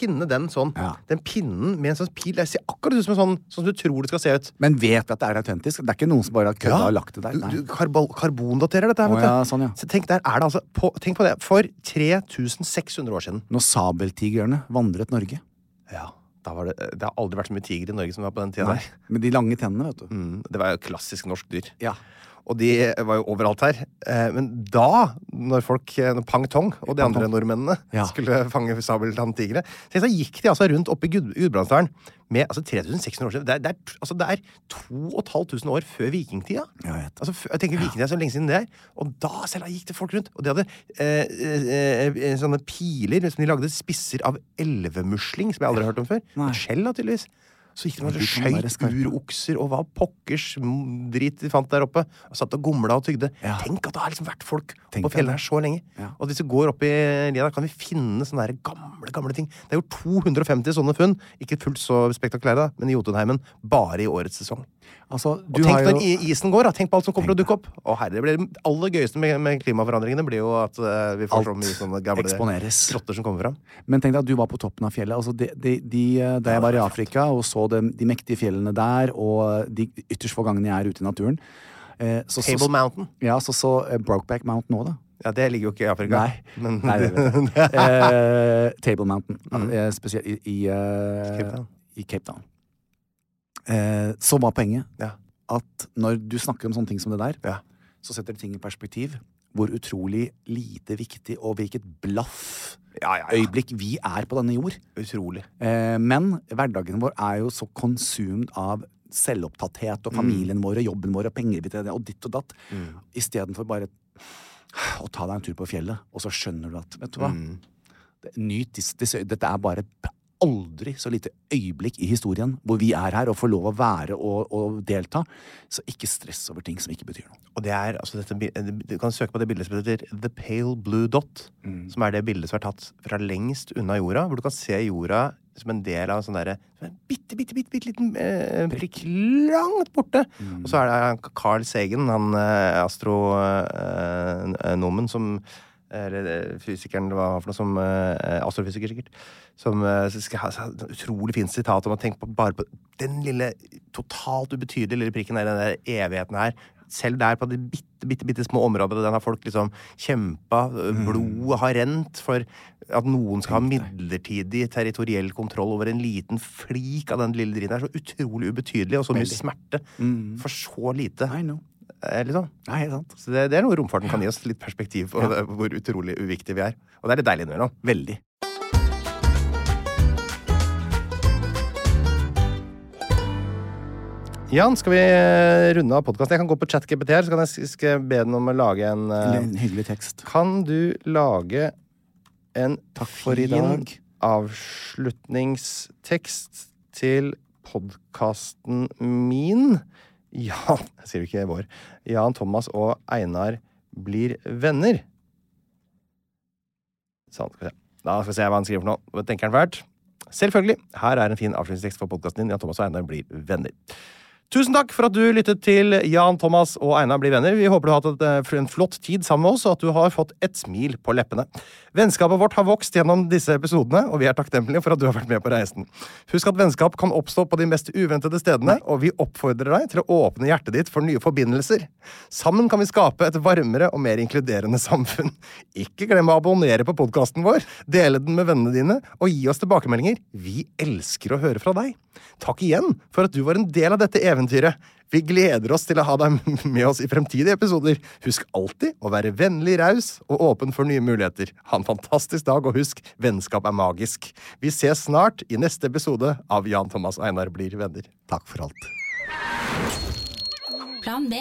finne den sånn.
Ja.
Den pinnen med en sånn pil. Det ser akkurat ut som en sånn som du tror det skal se ut.
Men vet vi at det er autentisk? Det er ikke noen som bare har kødda og lagt det der?
Du,
Nei.
du karbal, karbondaterer dette her,
Å,
vet du.
ja, sånn, ja.
Så tenk, der er det altså på, Tenk på det. For 3600 år siden.
Når sabeltigrene vandret Norge.
Ja, da var det, det har aldri vært så mye tiger i Norge som det var på den tida
Nei.
der.
Med de lange tennene, vet du.
Mm, Det var jo klassisk norsk dyr.
Ja.
Og de var jo overalt her. Eh, Men da, når folk, eh, når Pang Tong og de
Pang
andre
Tong.
nordmennene
Ja.
skulle fange sabeltanntigre, så gikk de altså rundt oppe i Gud- Gudbrandsdalen med altså 3600 år siden. Det er, det er, altså, det er 2500 år før vikingtida.
Ja, jeg vet det.
Altså, f- jeg tenker vikingtida er så lenge siden det er. Og da selv gikk det folk rundt. Og de hadde eh, eh, eh, sånne piler som de lagde spisser av elvemusling, som jeg aldri har hørt om før.
Nei.
Et Skjell, da, tydeligvis. Så gikk de og
de kan være
skøyt
skarpe.
urokser og hva pokkers m- drit de fant der oppe. Og satt og gomla og tygde.
Ja.
Tenk at det har liksom vært folk
Tenk
på
deg
fjellet
det.
her så lenge.
Ja.
Og hvis vi går opp i lia der, kan vi finne sånne der gamle, gamle ting. Det er jo 250 sånne funn. Ikke fullt så spektakulære, da, men i Jotunheimen bare i årets sesong.
Altså,
Og
du
tenk
har jo
når i- isen går, da. Tenk på alt som kommer til å dukke opp. Å, herre, det, blir, det aller gøyeste med, med klimaforandringene blir jo at eh, vi får så mye sånne
Alt
gamle
eksponeres.
grotter som kommer fram.
Men tenk deg at du var på toppen av fjellet. Altså, de, de, de, eh, da jeg var i Afrika og så de, de mektige fjellene der, og de ytterst få gangene jeg er ute i naturen eh, så, så,
Table Mountain.
Ja, så så eh, Brokeback Mountain òg, da.
Ja, det ligger jo ikke i Afrika.
Nei.
Men,
Nei, det vet jeg.
(laughs)
Eh, Table Mountain. Eh, spesielt i, i, eh,
Cape Town.
i Cape Town. Eh, så var poenget
Ja.
at når du snakker om sånne ting som det der,
Ja.
så setter det ting i perspektiv. Hvor utrolig lite viktig og hvilket blaff
Ja, ja, ja.
øyeblikk vi er på denne jord.
Utrolig.
Eh, men hverdagen vår er jo så consumed av selvopptatthet og familien vår og jobben vår og penger vi tjener og ditt og datt. Istedenfor bare å ta deg en tur på fjellet, og så skjønner du at Vet du hva? Det- Nyt disse, disse Dette er bare et aldri så lite øyeblikk i historien hvor vi er her og får lov å være og, og delta. Så ikke stress over ting som ikke betyr noe.
Og det er, altså dette, bi- Du kan søke på det bildet som heter The Pale Blue Dot. Som er det bildet som er tatt fra lengst unna jorda. Hvor du kan se jorda som en del av en sånn derre som en bitte, bitte, bitte, bitte liten eh, prikk langt borte. Og så er det Carl Sagen, han eh, astronomen eh, nomen som eller eh, fysikeren, eller hva han var for noe, som eh, astrofysiker, sikkert. Som eh, skal ha så har han et utrolig fint sitat om å tenke på bare på den lille, totalt ubetydelige lille prikken der, den der evigheten her. Selv der på de bitte, bitte, bitte små områdene, den har folk liksom kjempa, eh, blodet har rent for at noen skal ha midlertidig territoriell kontroll over en liten flik av den lille driten her. Så utrolig ubetydelig, og så mye smerte
Mm.
for så lite.
I know.
Eh, liksom.
Nei, helt sant.
Så det, det er noe romfarten kan gi oss. Litt perspektiv på det, hvor utrolig uviktig vi er. Og det er litt deilig innimellom.
Veldig.
Jan, skal vi eh, runde av podkasten? Jeg kan gå på ChatGPT her, så kan jeg s- skal jeg be den om å lage en eh,
En hyggelig tekst.
Kan du lage en
Takk for i dag.
avslutningstekst til podkasten min? Jan Jeg sier jo ikke vår. Jan Thomas og Einar blir venner. Sånn, skal vi se. Da skal vi se hva han skriver for noe. Hva tenker han fælt? Selvfølgelig. Her er en fin avslutningstekst for podkasten din. Jan Thomas og Einar blir venner. Tusen takk for at du lyttet til Jan Thomas og Einar blir venner. Vi håper du har hatt et, eh, en flott tid sammen med oss, og at du har fått et smil på leppene. Vennskapet vårt har vokst gjennom disse episodene, og vi er takknemlige for at du har vært med på reisen. Husk at vennskap kan oppstå på de mest uventede stedene, og vi oppfordrer deg til å åpne hjertet ditt for nye forbindelser. Sammen kan vi skape et varmere og mer inkluderende samfunn. Ikke glem å abonnere på podkasten vår, dele den med vennene dine, og gi oss tilbakemeldinger. Vi elsker å høre fra deg. Takk igjen for at du var en del av dette eventyret. Vi gleder oss til å ha deg (laughs) med oss i fremtidige episoder. Husk alltid å være vennlig raus og åpen for nye muligheter. Ha en fantastisk dag, og husk, vennskap er magisk. Vi ses snart i neste episode av Jan Thomas og Einar blir venner.
Takk for alt.
Plan B.